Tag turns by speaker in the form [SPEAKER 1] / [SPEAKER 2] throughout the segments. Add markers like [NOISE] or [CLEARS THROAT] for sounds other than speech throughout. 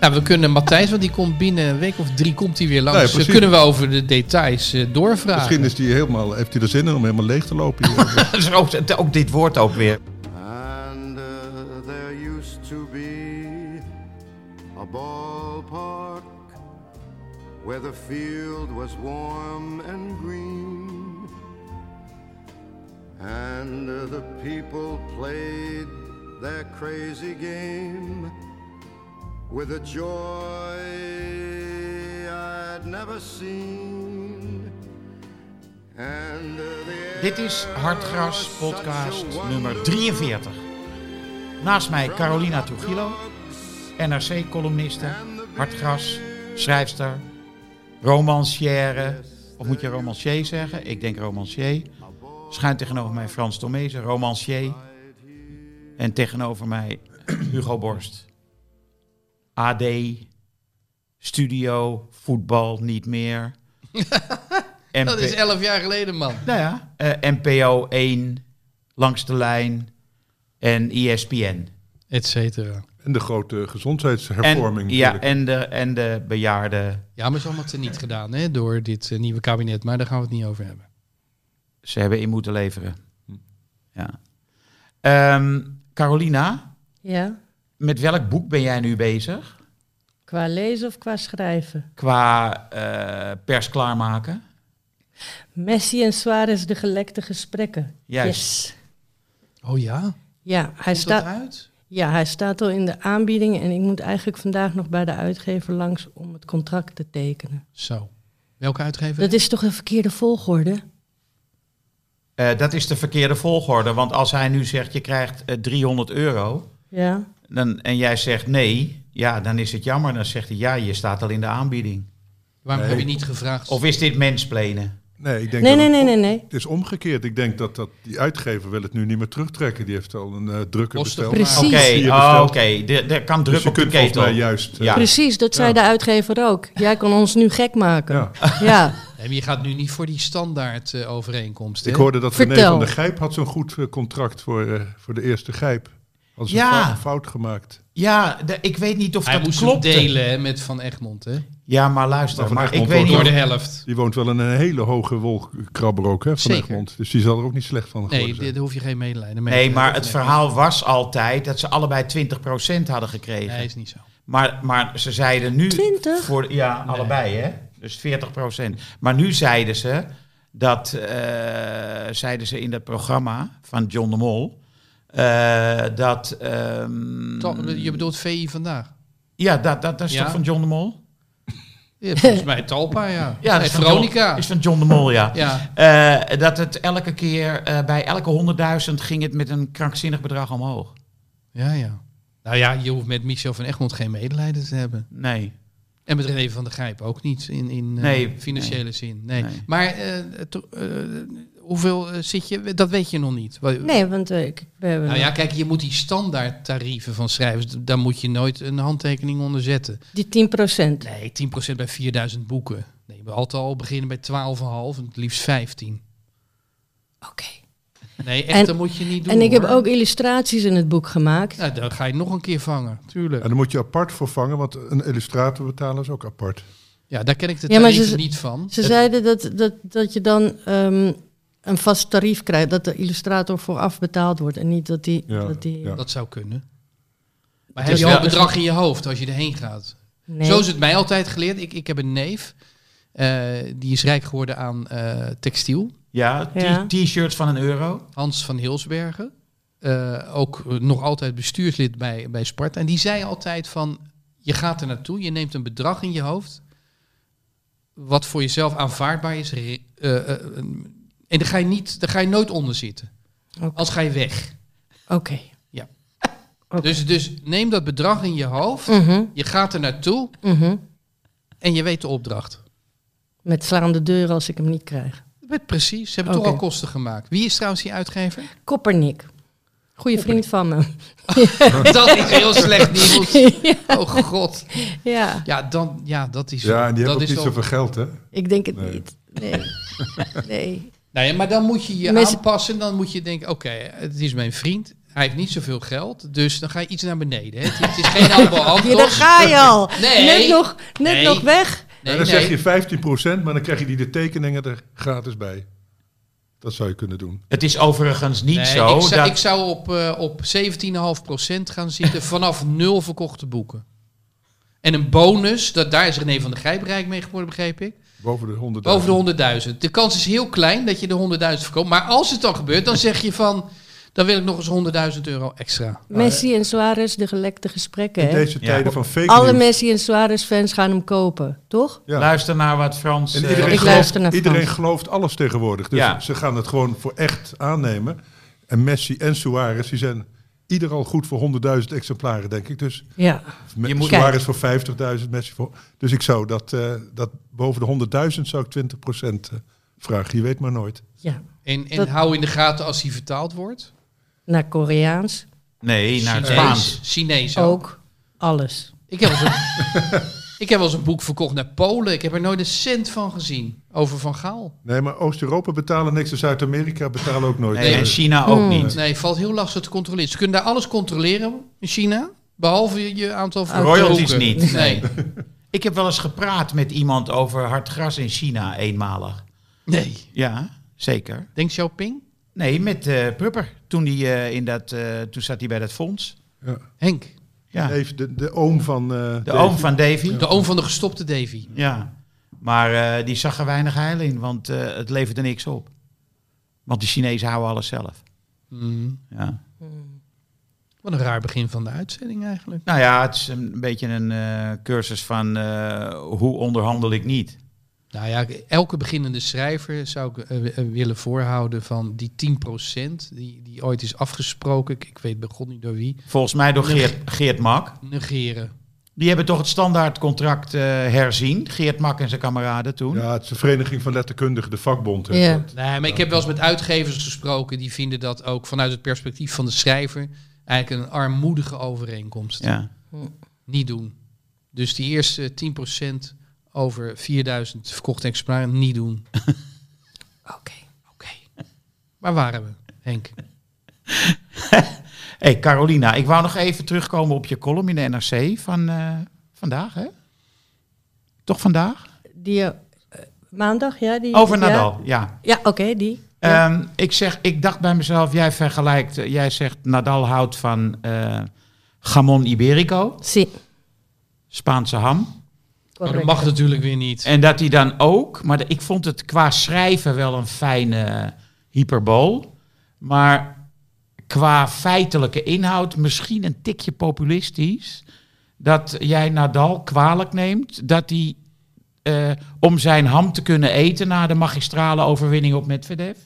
[SPEAKER 1] Nou, we kunnen Matthijs, want die komt binnen een week of drie komt hij weer langs.
[SPEAKER 2] Nee,
[SPEAKER 1] Dan
[SPEAKER 2] precies.
[SPEAKER 1] kunnen we over de details eh, doorvragen.
[SPEAKER 2] Misschien
[SPEAKER 3] [LAUGHS]
[SPEAKER 2] is die helemaal, heeft hij er zin in om helemaal leeg te lopen. hier.
[SPEAKER 3] Dus ook, ook dit woord ook weer.
[SPEAKER 4] And uh, there used to be a ballpark where the field was warm and green. And uh, the people played their crazy game with a joy I'd never seen. And uh, the
[SPEAKER 3] Dit is
[SPEAKER 4] air
[SPEAKER 3] Hartgras
[SPEAKER 4] was such a
[SPEAKER 3] podcast nummer
[SPEAKER 4] wonderful
[SPEAKER 3] 43. Naast mij Carolina Trujillo, NRC-columniste, Hartgras, schrijfster, romancière. Of moet je romancier zeggen? Ik denk romancier. Schuin tegenover mij Frans Tomezen, romancier. En tegenover mij [CLEARS THROAT] Hugo Borst. AD, studio, voetbal, niet
[SPEAKER 1] [LAUGHS]
[SPEAKER 3] meer.
[SPEAKER 1] Dat is
[SPEAKER 3] MP
[SPEAKER 1] elf jaar geleden, man.
[SPEAKER 3] nou ja, eh, NPO 1, Langs de Lijn en E ESPN.
[SPEAKER 1] Et cetera.
[SPEAKER 2] en de grote
[SPEAKER 3] En,
[SPEAKER 2] gezondheidshervorming.
[SPEAKER 3] ja,
[SPEAKER 2] natuurlijk.
[SPEAKER 3] en de, en de bejaarden.
[SPEAKER 1] Ja, maar is allemaal teniet gedaan hè, door dit eh, nieuwe kabinet. Maar daar gaan we het niet over hebben.
[SPEAKER 3] Ze hebben in moeten leveren. Ja. Ehm, Carolina,
[SPEAKER 5] Ja,
[SPEAKER 3] met welk boek ben jij nu bezig?
[SPEAKER 5] qua lezen of qua schrijven.
[SPEAKER 3] Qua eh, pers klaarmaken?
[SPEAKER 5] Messi en Suarez, de gelekte gesprekken.
[SPEAKER 3] Juist.
[SPEAKER 5] Yes.
[SPEAKER 1] Oh ja?
[SPEAKER 5] Ja hij,
[SPEAKER 1] Is dat
[SPEAKER 5] staat,
[SPEAKER 1] uit?
[SPEAKER 5] ja, hij staat al in de aanbieding en ik moet eigenlijk vandaag nog bij de uitgever langs om het contract te tekenen.
[SPEAKER 1] Zo. Welke uitgever?
[SPEAKER 5] Dat is toch een verkeerde volgorde?
[SPEAKER 3] Eh, dat is de verkeerde volgorde, want als hij nu zegt je krijgt eh, 300 euro
[SPEAKER 5] Ja.
[SPEAKER 3] dan, en jij zegt nee, ja, dan is het jammer. Dan zegt hij ja, je staat al in de aanbieding.
[SPEAKER 1] Waarom
[SPEAKER 2] Nee.
[SPEAKER 1] heb je niet gevraagd?
[SPEAKER 3] Of is dit mensplenen?
[SPEAKER 2] Nee, ik denk
[SPEAKER 5] Nee,
[SPEAKER 2] dat
[SPEAKER 5] nee,
[SPEAKER 2] het
[SPEAKER 5] nee,
[SPEAKER 2] om-
[SPEAKER 5] nee, nee.
[SPEAKER 2] Het is omgekeerd. Ik denk dat, dat die uitgever wil het nu niet meer terugtrekken. Die heeft al een eh, drukker
[SPEAKER 1] Kosten
[SPEAKER 2] besteld.
[SPEAKER 5] Precies.
[SPEAKER 3] Oké,
[SPEAKER 2] Die je
[SPEAKER 3] oh,
[SPEAKER 2] bestelt.
[SPEAKER 3] oké. De- Er kan druk
[SPEAKER 2] Dus je
[SPEAKER 3] op de
[SPEAKER 2] kunt volgens
[SPEAKER 3] ketel.
[SPEAKER 2] mij juist... eh,
[SPEAKER 3] Ja.
[SPEAKER 5] Precies, dat zei
[SPEAKER 2] Ja.
[SPEAKER 5] de uitgever ook. Jij kan ons nu gek maken.
[SPEAKER 2] ja.
[SPEAKER 5] Ja.
[SPEAKER 1] Nee, maar je gaat nu niet voor die standaard eh, overeenkomst.
[SPEAKER 2] Ik
[SPEAKER 1] hè?
[SPEAKER 2] hoorde dat René
[SPEAKER 5] Vertel.
[SPEAKER 2] van der Gijp had zo'n goed eh, contract voor, eh, voor de eerste Gijp. Had ze
[SPEAKER 3] Ja.
[SPEAKER 2] een fout- fout gemaakt.
[SPEAKER 3] Ja, de- ik weet niet of
[SPEAKER 1] Hij
[SPEAKER 3] dat
[SPEAKER 1] moest
[SPEAKER 3] klopt.
[SPEAKER 1] hem delen hè, met Van Egmond, hè?
[SPEAKER 3] Ja, maar luister,
[SPEAKER 2] Maar
[SPEAKER 3] maar,
[SPEAKER 2] Van
[SPEAKER 3] ik
[SPEAKER 2] Egmond
[SPEAKER 3] weet
[SPEAKER 2] wordt
[SPEAKER 3] niet.
[SPEAKER 1] Door
[SPEAKER 3] of-
[SPEAKER 1] de helft.
[SPEAKER 2] Die woont wel in een hele hoge wolkrabber ook, hè, van
[SPEAKER 1] Zeker.
[SPEAKER 2] Egmond. Dus die zal er ook niet slecht van geworden
[SPEAKER 1] Nee, daar
[SPEAKER 2] zijn.
[SPEAKER 1] hoef je geen medelijden mee
[SPEAKER 3] Nee,
[SPEAKER 1] te
[SPEAKER 3] maar
[SPEAKER 1] hebben.
[SPEAKER 3] het
[SPEAKER 1] Nee.
[SPEAKER 3] verhaal was altijd dat ze allebei 20% hadden gekregen.
[SPEAKER 1] Nee, is niet zo.
[SPEAKER 3] Maar, maar ze zeiden nu.
[SPEAKER 5] 20?
[SPEAKER 3] Voor, ja, allebei hè. Dus 40%. Maar nu zeiden ze dat. eh, zeiden ze in dat programma van John de Mol. eh, dat. ehm,
[SPEAKER 1] Toch, Je bedoelt VI vandaag?
[SPEAKER 3] ja, dat, dat, dat is
[SPEAKER 1] Ja.
[SPEAKER 3] toch van John de Mol?
[SPEAKER 1] Ja, volgens mij Talpa, ja.
[SPEAKER 3] Ja, dat
[SPEAKER 1] nee,
[SPEAKER 3] is van John-
[SPEAKER 1] Veronica.
[SPEAKER 3] Is van John de Mol, ja.
[SPEAKER 1] Ja,
[SPEAKER 3] Eh, dat het elke keer, eh, bij elke 100.000 ging het met een krankzinnig bedrag omhoog.
[SPEAKER 1] ja, ja. Nou ja, je hoeft met Michel van Egmond geen medelijden te hebben.
[SPEAKER 3] Nee.
[SPEAKER 1] En met René van der Grijp ook niet in, in eh,
[SPEAKER 3] Nee,
[SPEAKER 1] financiële zin. Nee.
[SPEAKER 3] Nee.
[SPEAKER 1] Maar eh, to- eh, hoeveel eh, zit je? Dat weet je nog niet. Wa-
[SPEAKER 5] Nee, want eh, ik, we hebben
[SPEAKER 1] Nou ja, kijk, je moet die standaard tarieven van schrijvers, d- daar moet je nooit een handtekening onder zetten.
[SPEAKER 5] die 10%.
[SPEAKER 1] Nee, 10% bij 4000 boeken. Nee, we altijd al beginnen bij 12,5 en het liefst 15.
[SPEAKER 5] Oké.
[SPEAKER 1] Nee, echt,
[SPEAKER 5] En-
[SPEAKER 1] dat moet je niet doen.
[SPEAKER 5] En ik heb
[SPEAKER 1] hoor.
[SPEAKER 5] ook illustraties in het boek gemaakt.
[SPEAKER 1] Nou, dan ga je nog een keer vangen, tuurlijk.
[SPEAKER 2] En dan moet je apart voor vangen, want een illustrator betalen is ook apart.
[SPEAKER 1] Ja, daar ken ik de
[SPEAKER 5] Ja, maar
[SPEAKER 1] tarieven
[SPEAKER 5] ze-
[SPEAKER 1] niet van.
[SPEAKER 5] Ze zeiden dat, dat, dat je dan ehm, een vast tarief krijgt, dat de illustrator vooraf betaald wordt en niet dat die.
[SPEAKER 2] Ja,
[SPEAKER 5] dat die
[SPEAKER 2] ja.
[SPEAKER 1] Dat zou kunnen. Maar
[SPEAKER 3] Het
[SPEAKER 1] heb
[SPEAKER 3] is
[SPEAKER 1] je al een
[SPEAKER 3] wel-
[SPEAKER 1] bedrag in je hoofd als je erheen gaat?
[SPEAKER 5] Nee.
[SPEAKER 1] Zo is het mij altijd geleerd. Ik, ik heb een neef, eh, die is rijk geworden aan eh, textiel.
[SPEAKER 3] Ja, t-
[SPEAKER 5] Ja.
[SPEAKER 3] t-shirts van een euro.
[SPEAKER 1] Hans van Hilsbergen, eh, ook eh, nog altijd bestuurslid bij, bij Sparta. En die zei altijd van, je gaat er naartoe, je neemt een bedrag in je hoofd... wat voor jezelf aanvaardbaar is. re- eh, eh, eh, en daar ga, je niet, daar ga je nooit onder zitten.
[SPEAKER 5] Oké.
[SPEAKER 1] Als ga je weg.
[SPEAKER 5] Oké.
[SPEAKER 1] Dus, dus neem dat bedrag in je hoofd,
[SPEAKER 5] Mhm,
[SPEAKER 1] je gaat er naartoe
[SPEAKER 5] mhm.
[SPEAKER 1] en je weet de opdracht.
[SPEAKER 5] Met slaande deuren als ik hem niet krijg.
[SPEAKER 1] Met precies, ze hebben
[SPEAKER 5] Oké.
[SPEAKER 1] toch al kosten gemaakt. Wie is trouwens die
[SPEAKER 2] [LAUGHS]
[SPEAKER 1] uitgever?
[SPEAKER 5] Koppernik. Goeie vriend van me.
[SPEAKER 1] dat is heel slecht
[SPEAKER 5] [LAUGHS]
[SPEAKER 1] nieuws. Oh god.
[SPEAKER 5] Ja,
[SPEAKER 1] Ja, dan, ja dat is...
[SPEAKER 2] Ja, en die
[SPEAKER 1] dat
[SPEAKER 2] hebben ook
[SPEAKER 1] is
[SPEAKER 2] niet
[SPEAKER 1] wel-
[SPEAKER 2] zoveel geld, hè?
[SPEAKER 5] ik denk het
[SPEAKER 2] Nee.
[SPEAKER 5] niet. Nee. [LAUGHS] nee.
[SPEAKER 1] Nou ja, maar dan moet je je
[SPEAKER 5] Mensen-
[SPEAKER 1] aanpassen. Dan moet je denken, oké, het is mijn vriend. Hij heeft niet zoveel geld, dus dan ga je iets naar beneden. Hè. Het, het is
[SPEAKER 5] [LAUGHS]
[SPEAKER 1] geen allemaal
[SPEAKER 5] Ja, daar ga je al.
[SPEAKER 1] Nee.
[SPEAKER 5] Net nog, net
[SPEAKER 1] Nee.
[SPEAKER 5] nog weg.
[SPEAKER 1] Nee,
[SPEAKER 2] en dan
[SPEAKER 1] nee.
[SPEAKER 2] zeg je 15%, maar dan krijg je die de tekeningen er gratis bij. Dat zou je kunnen doen.
[SPEAKER 3] Het is overigens niet
[SPEAKER 1] Nee,
[SPEAKER 3] zo
[SPEAKER 1] ik, zou,
[SPEAKER 3] dat...
[SPEAKER 1] ik zou op, eh, op 17,5% gaan
[SPEAKER 3] [LAUGHS]
[SPEAKER 1] zitten vanaf nul verkochte boeken. En een bonus, dat, daar is René van der Grijp rijk mee geworden, begreep ik.
[SPEAKER 2] Boven de 100.
[SPEAKER 1] Boven de 100.000. De kans is heel klein dat je de 100.000 verkoopt. Maar als het dan gebeurt, dan zeg je van... dan wil ik nog eens 100.000 euro extra.
[SPEAKER 5] Messi en Suarez, de gelekte gesprekken.
[SPEAKER 2] In
[SPEAKER 5] Hè?
[SPEAKER 2] deze
[SPEAKER 3] Ja.
[SPEAKER 2] tijden van fake
[SPEAKER 5] Alle
[SPEAKER 2] news.
[SPEAKER 5] Messi en Suarez fans gaan hem kopen, toch?
[SPEAKER 2] Ja.
[SPEAKER 3] Luister naar wat Frans...
[SPEAKER 2] En
[SPEAKER 3] eh,
[SPEAKER 2] iedereen,
[SPEAKER 5] Ik
[SPEAKER 2] gelooft,
[SPEAKER 5] luister naar
[SPEAKER 2] iedereen
[SPEAKER 5] Frans.
[SPEAKER 2] gelooft alles tegenwoordig. Dus
[SPEAKER 3] Ja.
[SPEAKER 2] ze gaan het gewoon voor echt aannemen. En Messi en Suarez, die zijn ieder al goed voor 100.000 exemplaren, denk ik. Dus
[SPEAKER 5] Ja.
[SPEAKER 2] Me-
[SPEAKER 3] Je moet-
[SPEAKER 2] Suarez voor 50.000, Messi voor... Dus ik zou dat, eh, dat boven de 100.000 zou ik 20% eh, vragen. Je weet maar nooit.
[SPEAKER 5] ja.
[SPEAKER 1] En, en
[SPEAKER 5] Dat-
[SPEAKER 1] hou in de gaten als die vertaald wordt.
[SPEAKER 5] Naar Koreaans
[SPEAKER 3] Nee, naar het
[SPEAKER 1] Chinees.
[SPEAKER 3] Spaans.
[SPEAKER 1] Chinees
[SPEAKER 5] ook. Alles.
[SPEAKER 1] Ik heb, wel eens een, [LAUGHS] ik heb wel eens een boek verkocht naar Polen. Ik heb er nooit een cent van gezien. Over Van Gaal.
[SPEAKER 2] Nee, maar Oost-Europa betalen niks en Zuid-Amerika betalen ook nooit.
[SPEAKER 3] Nee,
[SPEAKER 2] Eh,
[SPEAKER 3] en China ook niet.
[SPEAKER 1] Nee, valt heel lastig te controleren. Ze kunnen daar alles controleren in China. Behalve je, je aantal verkochte
[SPEAKER 3] Ah, Royalties
[SPEAKER 1] boeken.
[SPEAKER 3] niet,
[SPEAKER 1] Nee.
[SPEAKER 3] nee. Ik heb wel eens gepraat met iemand over hard gras in China, eenmalig.
[SPEAKER 1] nee.
[SPEAKER 3] Ja, zeker.
[SPEAKER 1] Deng Xiaoping?
[SPEAKER 3] Nee, met eh, Prupper. Toen, die, eh, in dat, eh, toen zat hij bij dat fonds.
[SPEAKER 1] Henk.
[SPEAKER 3] Ja,
[SPEAKER 2] neef, de, de oom van... eh,
[SPEAKER 3] de
[SPEAKER 2] Davy.
[SPEAKER 3] oom van Davy.
[SPEAKER 1] De oom van de gestopte Davy.
[SPEAKER 3] Ja, maar eh, die zag er weinig heil in, want eh, het leverde niks op. Want de Chinezen houden alles zelf.
[SPEAKER 1] Mm.
[SPEAKER 3] Ja.
[SPEAKER 1] Wat een raar begin van de uitzending eigenlijk.
[SPEAKER 3] Nou ja, het is een beetje een eh, cursus van eh, hoe onderhandel ik niet.
[SPEAKER 1] Nou ja, elke beginnende schrijver zou ik eh, eh, willen voorhouden van die 10% die, die ooit is afgesproken. Ik, ik weet bij God niet door wie.
[SPEAKER 3] Volgens mij door
[SPEAKER 1] Nee.
[SPEAKER 3] Geert, Geert Mak.
[SPEAKER 1] Negeren.
[SPEAKER 3] Die hebben toch het standaardcontract eh, herzien. Geert Mak en zijn kameraden toen.
[SPEAKER 2] Ja, het is de Vereniging van Letterkundigen, de vakbond. hè.
[SPEAKER 5] Ja.
[SPEAKER 1] Nee, maar ik heb wel eens met uitgevers gesproken. Die vinden dat ook vanuit het perspectief van de schrijver eigenlijk een armoedige overeenkomst.
[SPEAKER 3] Ja.
[SPEAKER 1] Niet doen. Dus die eerste 10% over 4000 verkochte exemplaren niet doen.
[SPEAKER 5] Oké.
[SPEAKER 1] Oké. Waar waren we, Henk?
[SPEAKER 3] Hé, hey, Carolina, ik wou nog even terugkomen op je column in de NRC van eh, vandaag, hè? Toch vandaag?
[SPEAKER 5] Die eh, maandag, ja? Die,
[SPEAKER 3] Over
[SPEAKER 5] ja?
[SPEAKER 3] Nadal, ja.
[SPEAKER 5] Ja, oké, die. Ja.
[SPEAKER 3] Ehm, ik, zeg, ik dacht bij mezelf, jij vergelijkt, eh, jij zegt Nadal houdt van eh jamon iberico,
[SPEAKER 5] Si,
[SPEAKER 3] Spaanse ham.
[SPEAKER 1] Maar
[SPEAKER 5] correct.
[SPEAKER 1] Oh, dat mag natuurlijk weer niet.
[SPEAKER 3] En dat hij dan ook, maar de- ik vond het qua schrijven wel een fijne hyperbool. Maar qua feitelijke inhoud misschien een tikje populistisch. Dat jij Nadal kwalijk neemt dat hij, eh, om zijn ham te kunnen eten na de magistrale overwinning op Medvedev,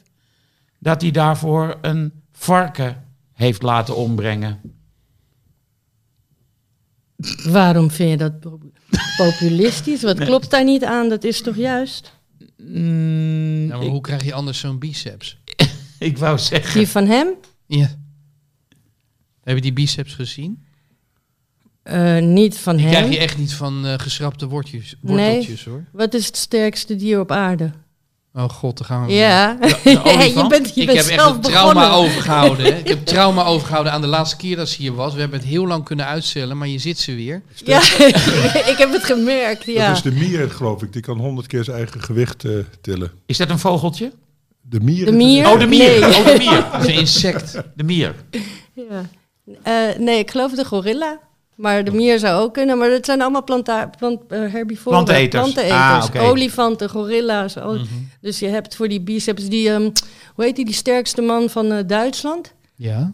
[SPEAKER 3] dat hij daarvoor een varken heeft laten ombrengen.
[SPEAKER 5] Waarom vind je dat po- populistisch? Wat klopt daar niet aan? Dat is toch juist?
[SPEAKER 3] Mm,
[SPEAKER 1] Ja, maar
[SPEAKER 3] ik,
[SPEAKER 1] hoe krijg je anders zo'n biceps?
[SPEAKER 3] ik wou zeggen.
[SPEAKER 5] Die van hem?
[SPEAKER 1] Ja. Heb je die biceps gezien?
[SPEAKER 5] Eh, niet van
[SPEAKER 1] Die
[SPEAKER 5] hem.
[SPEAKER 1] krijg je echt niet van eh, geschrapte wortjes,
[SPEAKER 5] Nee.
[SPEAKER 1] worteltjes hoor.
[SPEAKER 5] Wat is het sterkste dier op aarde?
[SPEAKER 1] Oh god, daar gaan we. weer.
[SPEAKER 5] [LAUGHS] Ja, je
[SPEAKER 3] olifant?
[SPEAKER 5] bent, je
[SPEAKER 1] ik
[SPEAKER 5] bent
[SPEAKER 1] heb echt
[SPEAKER 5] zelf
[SPEAKER 1] een trauma
[SPEAKER 5] begonnen.
[SPEAKER 1] overgehouden. Hè. Ik
[SPEAKER 5] [LAUGHS]
[SPEAKER 1] heb trauma overgehouden aan de laatste keer dat ze hier was. We hebben het heel lang kunnen uitstellen, maar je zit ze weer.
[SPEAKER 5] Ja, [LAUGHS] ik heb het gemerkt, ja.
[SPEAKER 2] Dat is de mier, geloof ik. Die kan 100 keer zijn eigen gewicht eh, tillen.
[SPEAKER 3] Is dat een vogeltje?
[SPEAKER 2] De mier.
[SPEAKER 5] De mier?
[SPEAKER 3] Oh, de mier.
[SPEAKER 5] Nee.
[SPEAKER 3] Oh, de [LAUGHS] mier.
[SPEAKER 1] Het is een insect.
[SPEAKER 3] De mier.
[SPEAKER 5] Ja. Eh, nee, ik geloof de gorilla. Maar de mier zou ook kunnen, maar dat zijn allemaal planta plant, eh, herbivoren.
[SPEAKER 3] Planteneters. Ah, oké.
[SPEAKER 5] Olifanten, gorilla's. o-
[SPEAKER 1] Mhm.
[SPEAKER 5] Dus je hebt voor die biceps die, ehm, hoe heet die, die sterkste man van eh, Duitsland?
[SPEAKER 1] Ja.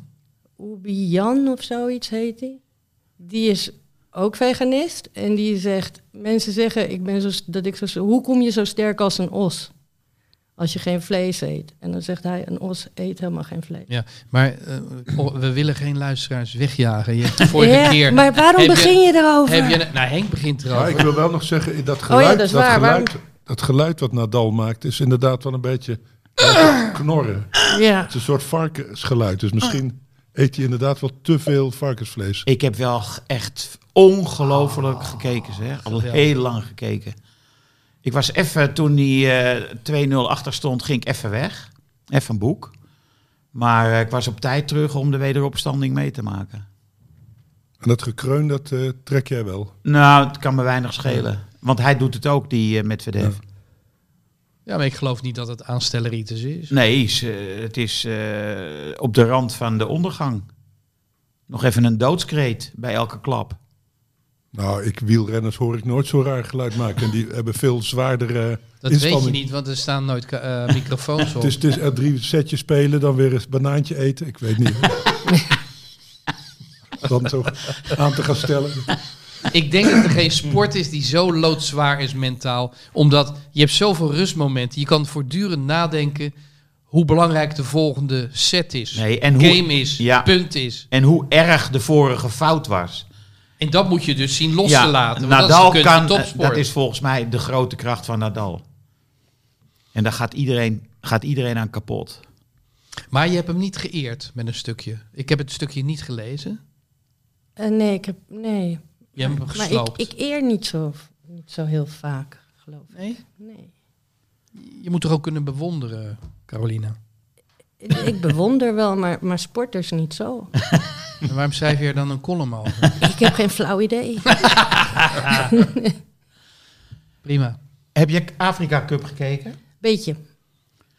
[SPEAKER 5] Ubi Jan of zoiets heet hij. Die is ook veganist en die zegt, mensen zeggen, ik ben zo, s- dat ik zo, hoe kom je zo sterk als een os? Als je geen vlees eet. En dan zegt hij, een os eet helemaal geen vlees.
[SPEAKER 1] ja. Maar eh, oh, we willen geen luisteraars wegjagen. Je hebt
[SPEAKER 5] [LAUGHS]
[SPEAKER 1] de vorige
[SPEAKER 5] Ja,
[SPEAKER 1] keer...
[SPEAKER 5] Maar waarom
[SPEAKER 1] heb je-
[SPEAKER 5] begin je erover?
[SPEAKER 1] Heb je, nou, Henk begint
[SPEAKER 2] Maar
[SPEAKER 1] erover.
[SPEAKER 2] ik wil wel nog zeggen, dat
[SPEAKER 5] Oh ja,
[SPEAKER 2] geluid,
[SPEAKER 5] dat
[SPEAKER 2] dat,
[SPEAKER 5] is waar.
[SPEAKER 2] geluid, dat geluid wat Nadal maakt, is inderdaad wel een beetje
[SPEAKER 5] [COUGHS]
[SPEAKER 2] knorren.
[SPEAKER 5] Ja.
[SPEAKER 2] Het is een soort varkensgeluid. Dus misschien eet je inderdaad wel te veel varkensvlees.
[SPEAKER 3] Ik heb wel g- echt ongelooflijk gekeken, zeg. Al
[SPEAKER 1] geweldig.
[SPEAKER 3] heel lang gekeken. Ik was even, toen die eh 2-0 achter stond, ging ik even weg. Even een boek. Maar eh, ik was op tijd terug om de wederopstanding mee te maken.
[SPEAKER 2] En dat gekreun, dat eh, trek jij wel.
[SPEAKER 3] Nou, het kan me weinig schelen. Want hij doet het ook, die eh, met Medvedev.
[SPEAKER 1] Ja, maar ik geloof niet dat het aanstelleritis is. Dus
[SPEAKER 3] Nee, ze- het is eh, op de rand van de ondergang. Nog even een doodskreet bij elke klap.
[SPEAKER 2] Nou, ik wielrenners hoor ik nooit zo raar geluid maken. En die hebben veel zwaardere
[SPEAKER 1] Dat
[SPEAKER 2] inspanning.
[SPEAKER 1] weet je niet, want er staan nooit ka-
[SPEAKER 3] [LAUGHS]
[SPEAKER 1] eh, microfoons op.
[SPEAKER 3] Dus-
[SPEAKER 2] Het is, het is er drie setjes spelen, dan weer een banaantje eten. Ik weet niet. dan zo aan te gaan stellen.
[SPEAKER 1] Ik denk dat er geen sport is die zo loodzwaar is mentaal. Omdat je hebt zoveel rustmomenten. Je kan voortdurend nadenken hoe belangrijk de volgende set is.
[SPEAKER 3] Nee, en hoe-
[SPEAKER 1] game is,
[SPEAKER 3] ja.
[SPEAKER 1] punt is.
[SPEAKER 3] En hoe erg de vorige fout was.
[SPEAKER 1] En dat moet je dus zien los te laten. Want
[SPEAKER 3] Nadal
[SPEAKER 1] dat is de kunst
[SPEAKER 3] kan, eh,
[SPEAKER 1] van topsport.
[SPEAKER 3] dat is volgens mij de grote kracht van Nadal. En daar gaat iedereen, gaat iedereen aan kapot.
[SPEAKER 1] Maar je hebt hem niet geëerd met een stukje. Ik heb het stukje niet gelezen.
[SPEAKER 5] Eh, nee, ik heb. Nee.
[SPEAKER 1] Je hebt hem
[SPEAKER 5] Maar
[SPEAKER 1] gesloopt.
[SPEAKER 5] ik, ik eer niet zo, niet zo heel vaak, geloof ik.
[SPEAKER 1] Nee?
[SPEAKER 5] Nee.
[SPEAKER 1] Je moet toch ook kunnen bewonderen, Carolina.
[SPEAKER 5] Ik- Ik bewonder wel, maar, maar sporters niet zo.
[SPEAKER 1] En waarom schrijf je er dan een column over?
[SPEAKER 5] Ik heb geen flauw idee.
[SPEAKER 1] Prima.
[SPEAKER 3] Heb je Afrika Cup gekeken?
[SPEAKER 5] Beetje.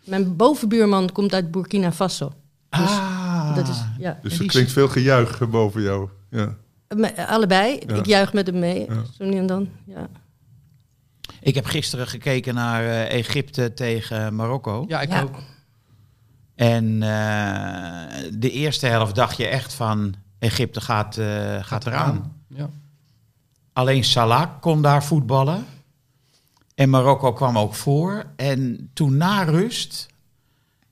[SPEAKER 5] Mijn bovenbuurman komt uit Burkina Faso.
[SPEAKER 3] ah,
[SPEAKER 5] Dat is, ja.
[SPEAKER 2] Dus
[SPEAKER 3] En
[SPEAKER 2] er
[SPEAKER 3] die-
[SPEAKER 2] klinkt veel gejuich boven jou. Ja.
[SPEAKER 5] Me- Allebei.
[SPEAKER 2] Ja.
[SPEAKER 5] Ik juich met hem mee.
[SPEAKER 2] Ja.
[SPEAKER 5] Zo nu en dan. Ja.
[SPEAKER 3] Ik heb gisteren gekeken naar eh, Egypte tegen Marokko.
[SPEAKER 1] Ja, ik
[SPEAKER 5] Ja.
[SPEAKER 1] ook.
[SPEAKER 3] En eh, de eerste helft dacht je echt van Egypte gaat, eh, gaat eraan.
[SPEAKER 1] Ja.
[SPEAKER 3] Alleen Salah kon daar voetballen. En Marokko kwam ook voor. En toen na rust,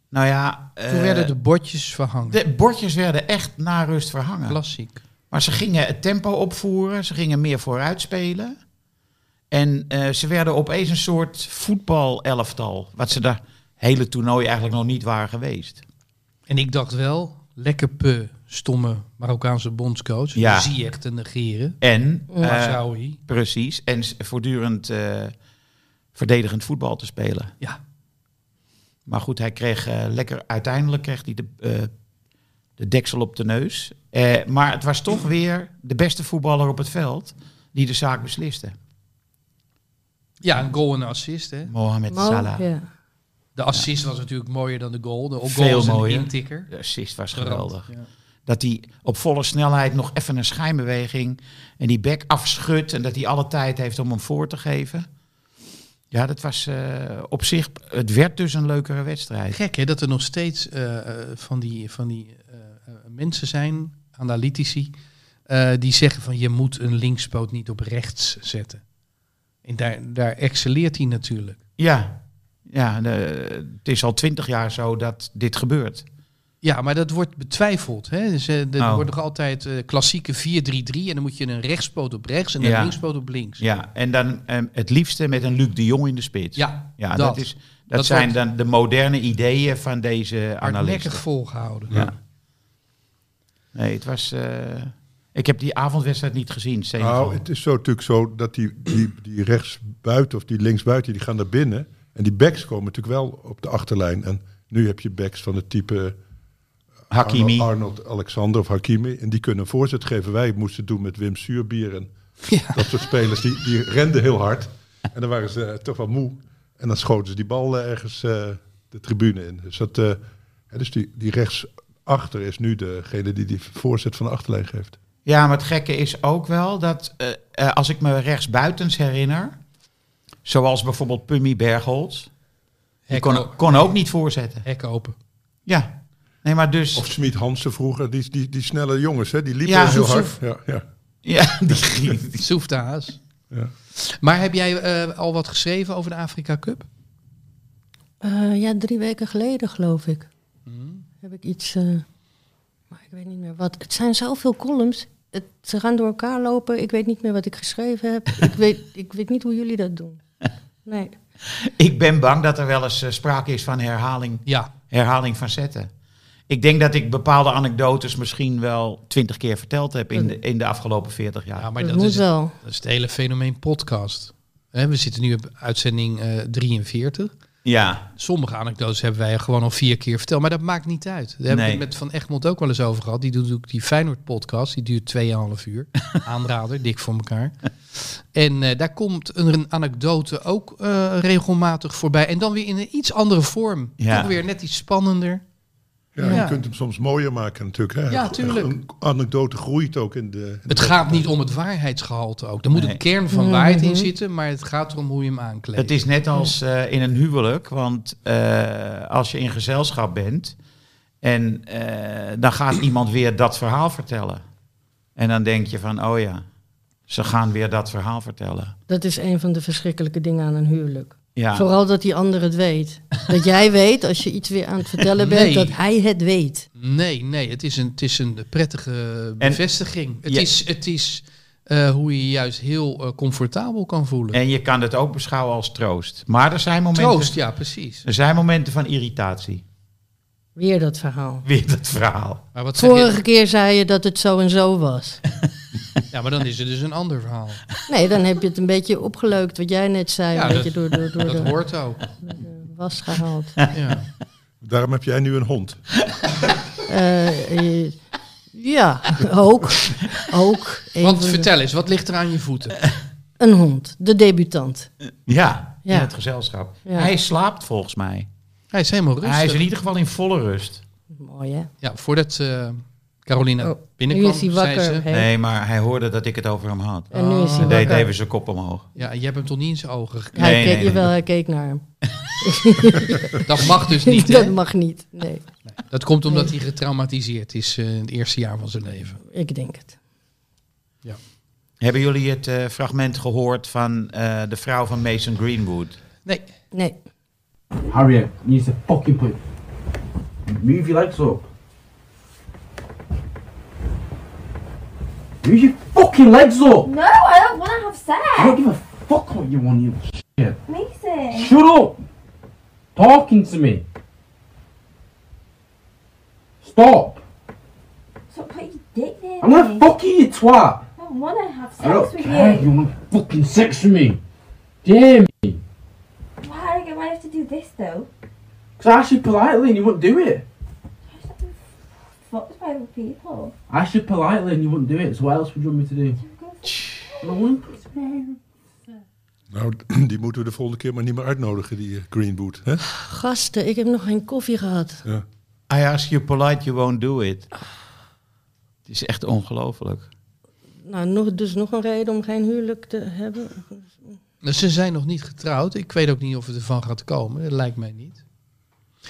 [SPEAKER 3] nou ja, eh,
[SPEAKER 1] Toen werden de bordjes verhangen.
[SPEAKER 3] de bordjes werden echt na rust verhangen.
[SPEAKER 1] Klassiek.
[SPEAKER 3] Maar ze gingen het tempo opvoeren, ze gingen meer vooruit spelen. En eh, ze werden opeens een soort voetbalelftal, wat ze daar hele toernooi eigenlijk nog niet waren geweest.
[SPEAKER 1] En ik dacht wel, lekker pe, stomme Marokkaanse bondscoach.
[SPEAKER 3] Ja.
[SPEAKER 1] Zie echt te negeren.
[SPEAKER 3] En eh,
[SPEAKER 1] Maar zou hij?
[SPEAKER 3] precies, en s- voortdurend eh, verdedigend voetbal te spelen.
[SPEAKER 1] Ja.
[SPEAKER 3] Maar goed, hij kreeg eh, lekker. Uiteindelijk kreeg hij de, eh, de deksel op de neus. Eh, maar het was toch weer de beste voetballer op het veld die de zaak besliste.
[SPEAKER 1] ja, een goal en een assist. Hè.
[SPEAKER 3] Mohamed
[SPEAKER 5] Mo,
[SPEAKER 3] Salah.
[SPEAKER 5] ja.
[SPEAKER 1] De assist was natuurlijk mooier dan de goal. De goal
[SPEAKER 3] Veel
[SPEAKER 1] was een
[SPEAKER 3] mooier.
[SPEAKER 1] intikker.
[SPEAKER 3] De assist was
[SPEAKER 1] Gerand,
[SPEAKER 3] geweldig.
[SPEAKER 1] ja.
[SPEAKER 3] Dat hij op volle snelheid nog even een schijnbeweging en die bek afschudt. En dat hij alle tijd heeft om hem voor te geven. Ja, dat was eh, op zich. Het werd dus een leukere wedstrijd.
[SPEAKER 1] Gek hè, dat er nog steeds eh, eh, van die, van die eh, eh, mensen zijn, analytici, eh, die zeggen van je moet een linkspoot niet op rechts zetten. En daar, daar excelleert hij natuurlijk.
[SPEAKER 3] Ja, ja de- het is al twintig jaar zo dat dit gebeurt.
[SPEAKER 1] Ja, maar dat wordt betwijfeld. Hè? Dus, eh, er
[SPEAKER 3] Oh.
[SPEAKER 1] wordt nog altijd eh, klassieke 4-3-3 en dan moet je een rechtspoot op rechts en een
[SPEAKER 3] Ja.
[SPEAKER 1] linkspoot op links.
[SPEAKER 3] Ja, en dan ehm, het liefste met een Luc de Jong in de spits.
[SPEAKER 1] Ja,
[SPEAKER 3] ja
[SPEAKER 1] dat.
[SPEAKER 3] dat, is, dat,
[SPEAKER 1] Dat wordt-
[SPEAKER 3] zijn dan de moderne ideeën van deze analisten.
[SPEAKER 1] hardnekkig volgehouden.
[SPEAKER 3] Ja. Nee, het was... eh, ik heb die avondwedstrijd niet gezien, Senegal.
[SPEAKER 2] Nou, het is zo natuurlijk zo dat die, die, die rechtsbuiten of die linksbuiten, die gaan naar binnen. En die backs komen natuurlijk wel op de achterlijn. En nu heb je backs van het type
[SPEAKER 3] Hakimi.
[SPEAKER 2] Arnold, Arnold Alexander of Hakimi. En die kunnen een voorzet geven. Wij moesten het doen met Wim Suurbier en dat soort spelers. Die, die renden heel hard. En dan waren ze eh, toch wel moe. En dan schoten ze die bal eh, ergens eh, de tribune in. Dus, dat, eh, hè, dus die, die rechtsachter is nu degene die die voorzet van de achterlijn geeft.
[SPEAKER 3] Ja, maar het gekke is ook wel dat eh, eh, als ik me rechtsbuitens herinner, zoals bijvoorbeeld Pummy Bergholz, die
[SPEAKER 1] Hek
[SPEAKER 3] kon,
[SPEAKER 1] o-
[SPEAKER 3] kon ook niet voorzetten.
[SPEAKER 1] Hek open.
[SPEAKER 3] Ja, nee, maar dus...
[SPEAKER 2] Of Smit Hansen vroeger, die, die, die snelle jongens, hè, die liepen
[SPEAKER 3] Ja,
[SPEAKER 2] heel
[SPEAKER 3] Soef,
[SPEAKER 2] hard.
[SPEAKER 3] Soef.
[SPEAKER 2] Ja, ja.
[SPEAKER 3] ja, [LAUGHS] die, ging-
[SPEAKER 1] Soeftaas.
[SPEAKER 2] Ja.
[SPEAKER 1] Maar heb jij eh, al wat geschreven over de Afrika Cup?
[SPEAKER 5] Eh, ja, drie weken geleden geloof ik.
[SPEAKER 1] Hmm?
[SPEAKER 5] Heb ik iets. eh, maar ik weet niet meer wat. Het zijn zoveel columns. Het, ze gaan door elkaar lopen. Ik weet niet meer wat ik geschreven
[SPEAKER 1] [LAUGHS]
[SPEAKER 5] heb. ik, weet, ik weet niet hoe jullie dat doen. Nee.
[SPEAKER 3] ik ben bang dat er wel eens eh, sprake is van herhaling,
[SPEAKER 1] Ja.
[SPEAKER 3] herhaling van zetten. Ik denk dat ik bepaalde anekdotes misschien wel twintig keer verteld heb in de, in de afgelopen veertig jaar.
[SPEAKER 1] ja, [LAUGHS] maar
[SPEAKER 5] Maar
[SPEAKER 1] dat,
[SPEAKER 5] dat moet
[SPEAKER 1] is, het-
[SPEAKER 5] wel.
[SPEAKER 1] dat is het hele fenomeen podcast. Hè, we zitten nu op uitzending eh, 43.
[SPEAKER 3] Ja,
[SPEAKER 1] Sommige anekdotes hebben wij gewoon al vier keer verteld, maar dat maakt niet uit. Daar hebben we het
[SPEAKER 3] Nee.
[SPEAKER 1] met Van Egmond ook wel eens over gehad. Die doet natuurlijk die Feyenoord-podcast, die duurt 2,5
[SPEAKER 3] [LAUGHS]
[SPEAKER 1] uur. Aanrader, dik voor elkaar. En eh, daar komt een anekdote ook eh, regelmatig voorbij. En dan weer in een iets andere vorm.
[SPEAKER 3] Ja.
[SPEAKER 1] Toch weer net iets spannender.
[SPEAKER 2] Ja,
[SPEAKER 1] Ja.
[SPEAKER 2] Je kunt hem soms mooier maken natuurlijk. Hè.
[SPEAKER 1] Ja,
[SPEAKER 2] Een-
[SPEAKER 1] tuurlijk.
[SPEAKER 2] Een anekdote groeit ook in de... in
[SPEAKER 1] Het
[SPEAKER 2] de-
[SPEAKER 1] gaat niet om het waarheidsgehalte ook. Er moet
[SPEAKER 3] Nee.
[SPEAKER 1] een kern van waarheid in zitten, maar het gaat erom hoe je hem aankleedt.
[SPEAKER 3] Het is net als eh, in een huwelijk, want eh, als je in gezelschap bent en eh, dan gaat iemand weer dat verhaal vertellen. En dan denk je van, oh ja, ze gaan weer dat verhaal vertellen.
[SPEAKER 5] Dat is een van de verschrikkelijke dingen aan een huwelijk.
[SPEAKER 3] Ja,
[SPEAKER 5] Vooral dat die ander het weet. Dat
[SPEAKER 1] [LAUGHS]
[SPEAKER 5] jij weet, als je iets weer aan het vertellen
[SPEAKER 1] Nee.
[SPEAKER 5] bent, dat hij het weet.
[SPEAKER 1] Nee, nee, het is een, het is een prettige bevestiging. het,
[SPEAKER 3] Ja.
[SPEAKER 1] is, het is eh, hoe je je juist heel eh, comfortabel kan voelen.
[SPEAKER 3] en je kan het ook beschouwen als troost. Maar er zijn momenten,
[SPEAKER 1] Troost, ja, precies.
[SPEAKER 3] Er zijn momenten van irritatie.
[SPEAKER 5] Weer dat verhaal.
[SPEAKER 3] Weer dat verhaal.
[SPEAKER 1] Maar wat zeg
[SPEAKER 5] Vorige
[SPEAKER 1] je?
[SPEAKER 5] keer zei je dat het zo en zo was.
[SPEAKER 1] Ja, maar dan is het dus een ander verhaal.
[SPEAKER 5] Nee, dan heb je het een beetje opgeleukt wat jij net zei.
[SPEAKER 1] Ja,
[SPEAKER 5] een
[SPEAKER 1] dat-
[SPEAKER 5] beetje door, door, door
[SPEAKER 1] Dat
[SPEAKER 5] de
[SPEAKER 1] hoort ook.
[SPEAKER 5] [LAUGHS] was gehaald.
[SPEAKER 1] Ja.
[SPEAKER 2] Daarom heb jij nu een hond.
[SPEAKER 5] Eh, eh, ja, ook. ook een
[SPEAKER 1] Want
[SPEAKER 5] van de-
[SPEAKER 1] vertel eens, wat ligt er aan je voeten?
[SPEAKER 5] Een hond, de debutant.
[SPEAKER 3] Ja,
[SPEAKER 5] Ja.
[SPEAKER 3] in het gezelschap.
[SPEAKER 5] Ja.
[SPEAKER 3] Hij slaapt volgens mij.
[SPEAKER 1] Hij is helemaal rustig.
[SPEAKER 3] Hij is in ieder geval in volle rust.
[SPEAKER 5] Mooi hè?
[SPEAKER 1] Ja, voordat eh Carolina
[SPEAKER 5] Oh,
[SPEAKER 1] binnenkwam,
[SPEAKER 5] nu is hij wakker.
[SPEAKER 1] zei ze...
[SPEAKER 5] hè?
[SPEAKER 3] Nee, Oh. maar hij hoorde dat ik het over hem had.
[SPEAKER 5] En nu is hij
[SPEAKER 3] Hij deed
[SPEAKER 5] wakker.
[SPEAKER 3] even zijn kop omhoog.
[SPEAKER 1] Ja, je hebt hem toch niet in zijn ogen gekeken?
[SPEAKER 5] Hij
[SPEAKER 3] Nee,
[SPEAKER 5] keek,
[SPEAKER 3] nee,
[SPEAKER 5] jawel,
[SPEAKER 3] nee.
[SPEAKER 5] hij keek naar hem.
[SPEAKER 1] Dat mag dus
[SPEAKER 5] [LAUGHS]
[SPEAKER 1] niet,
[SPEAKER 5] dat
[SPEAKER 1] hè?
[SPEAKER 5] mag niet. Nee,
[SPEAKER 1] Dat komt omdat hij getraumatiseerd is eh, in het eerste jaar van zijn leven.
[SPEAKER 5] ik denk het.
[SPEAKER 3] Hebben jullie het eh, fragment gehoord van eh, de vrouw van Mason Greenwood?
[SPEAKER 1] Nee,
[SPEAKER 5] Nee.
[SPEAKER 6] Harriet needs to fucking play. Move your legs up. Move your fucking legs up!
[SPEAKER 7] No, I don't want to have
[SPEAKER 6] I
[SPEAKER 7] sex.
[SPEAKER 6] don't give a fuck what you want, you shit.
[SPEAKER 7] Mason.
[SPEAKER 6] Shut up! Talking to me. Stop!
[SPEAKER 7] Stop putting your dick there.
[SPEAKER 6] I'm gonna fuck you, you twat!
[SPEAKER 7] I don't want to have sex
[SPEAKER 6] I don't
[SPEAKER 7] with
[SPEAKER 6] care,
[SPEAKER 7] you.
[SPEAKER 6] you want fucking sex with me. Damn me.
[SPEAKER 7] Why do I have to do this though?
[SPEAKER 6] Cause I asked you politely and you wouldn't do it.
[SPEAKER 7] I just been fucked by other people.
[SPEAKER 6] I asked you politely and you wouldn't do it, so what else would you want me to do?
[SPEAKER 7] I'm going to
[SPEAKER 6] I don't want to do it.
[SPEAKER 2] Nou, [CLEARS THROAT] die moeten we de volgende keer maar niet meer uitnodigen, die eh, Greenwood. Hè?
[SPEAKER 5] Gasten, ik heb nog geen koffie gehad.
[SPEAKER 3] I ask you polite, you won't do it. Het is echt ongelooflijk.
[SPEAKER 5] Nou, nog, dus nog een reden om geen huwelijk te hebben.
[SPEAKER 1] Nou, Ze zijn nog niet getrouwd. Ik weet ook niet of het ervan gaat komen. Dat lijkt mij niet.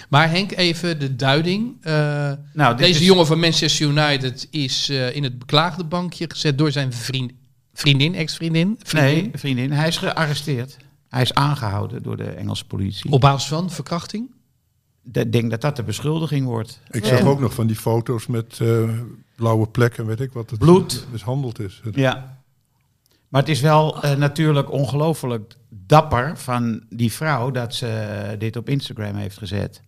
[SPEAKER 1] Maar Henk, even de duiding. Eh,
[SPEAKER 3] Nou, dit
[SPEAKER 1] deze
[SPEAKER 3] is-
[SPEAKER 1] jongen van Manchester United is eh, in het beklaagde bankje gezet door zijn vriend, vriendin, ex-vriendin. vriendin.
[SPEAKER 3] Nee, vriendin, hij is gearresteerd. Hij is aangehouden door de Engelse politie.
[SPEAKER 1] Op basis van verkrachting.
[SPEAKER 3] Ik denk dat dat de beschuldiging wordt.
[SPEAKER 2] Ik zag
[SPEAKER 3] En-
[SPEAKER 2] ook nog van die foto's met eh, blauwe plekken, weet ik wat. Het
[SPEAKER 3] Bloed.
[SPEAKER 2] Mishandeld is.
[SPEAKER 3] Ja. Maar het is wel eh, natuurlijk ongelooflijk dapper van die vrouw dat ze eh, dit op Instagram heeft gezet.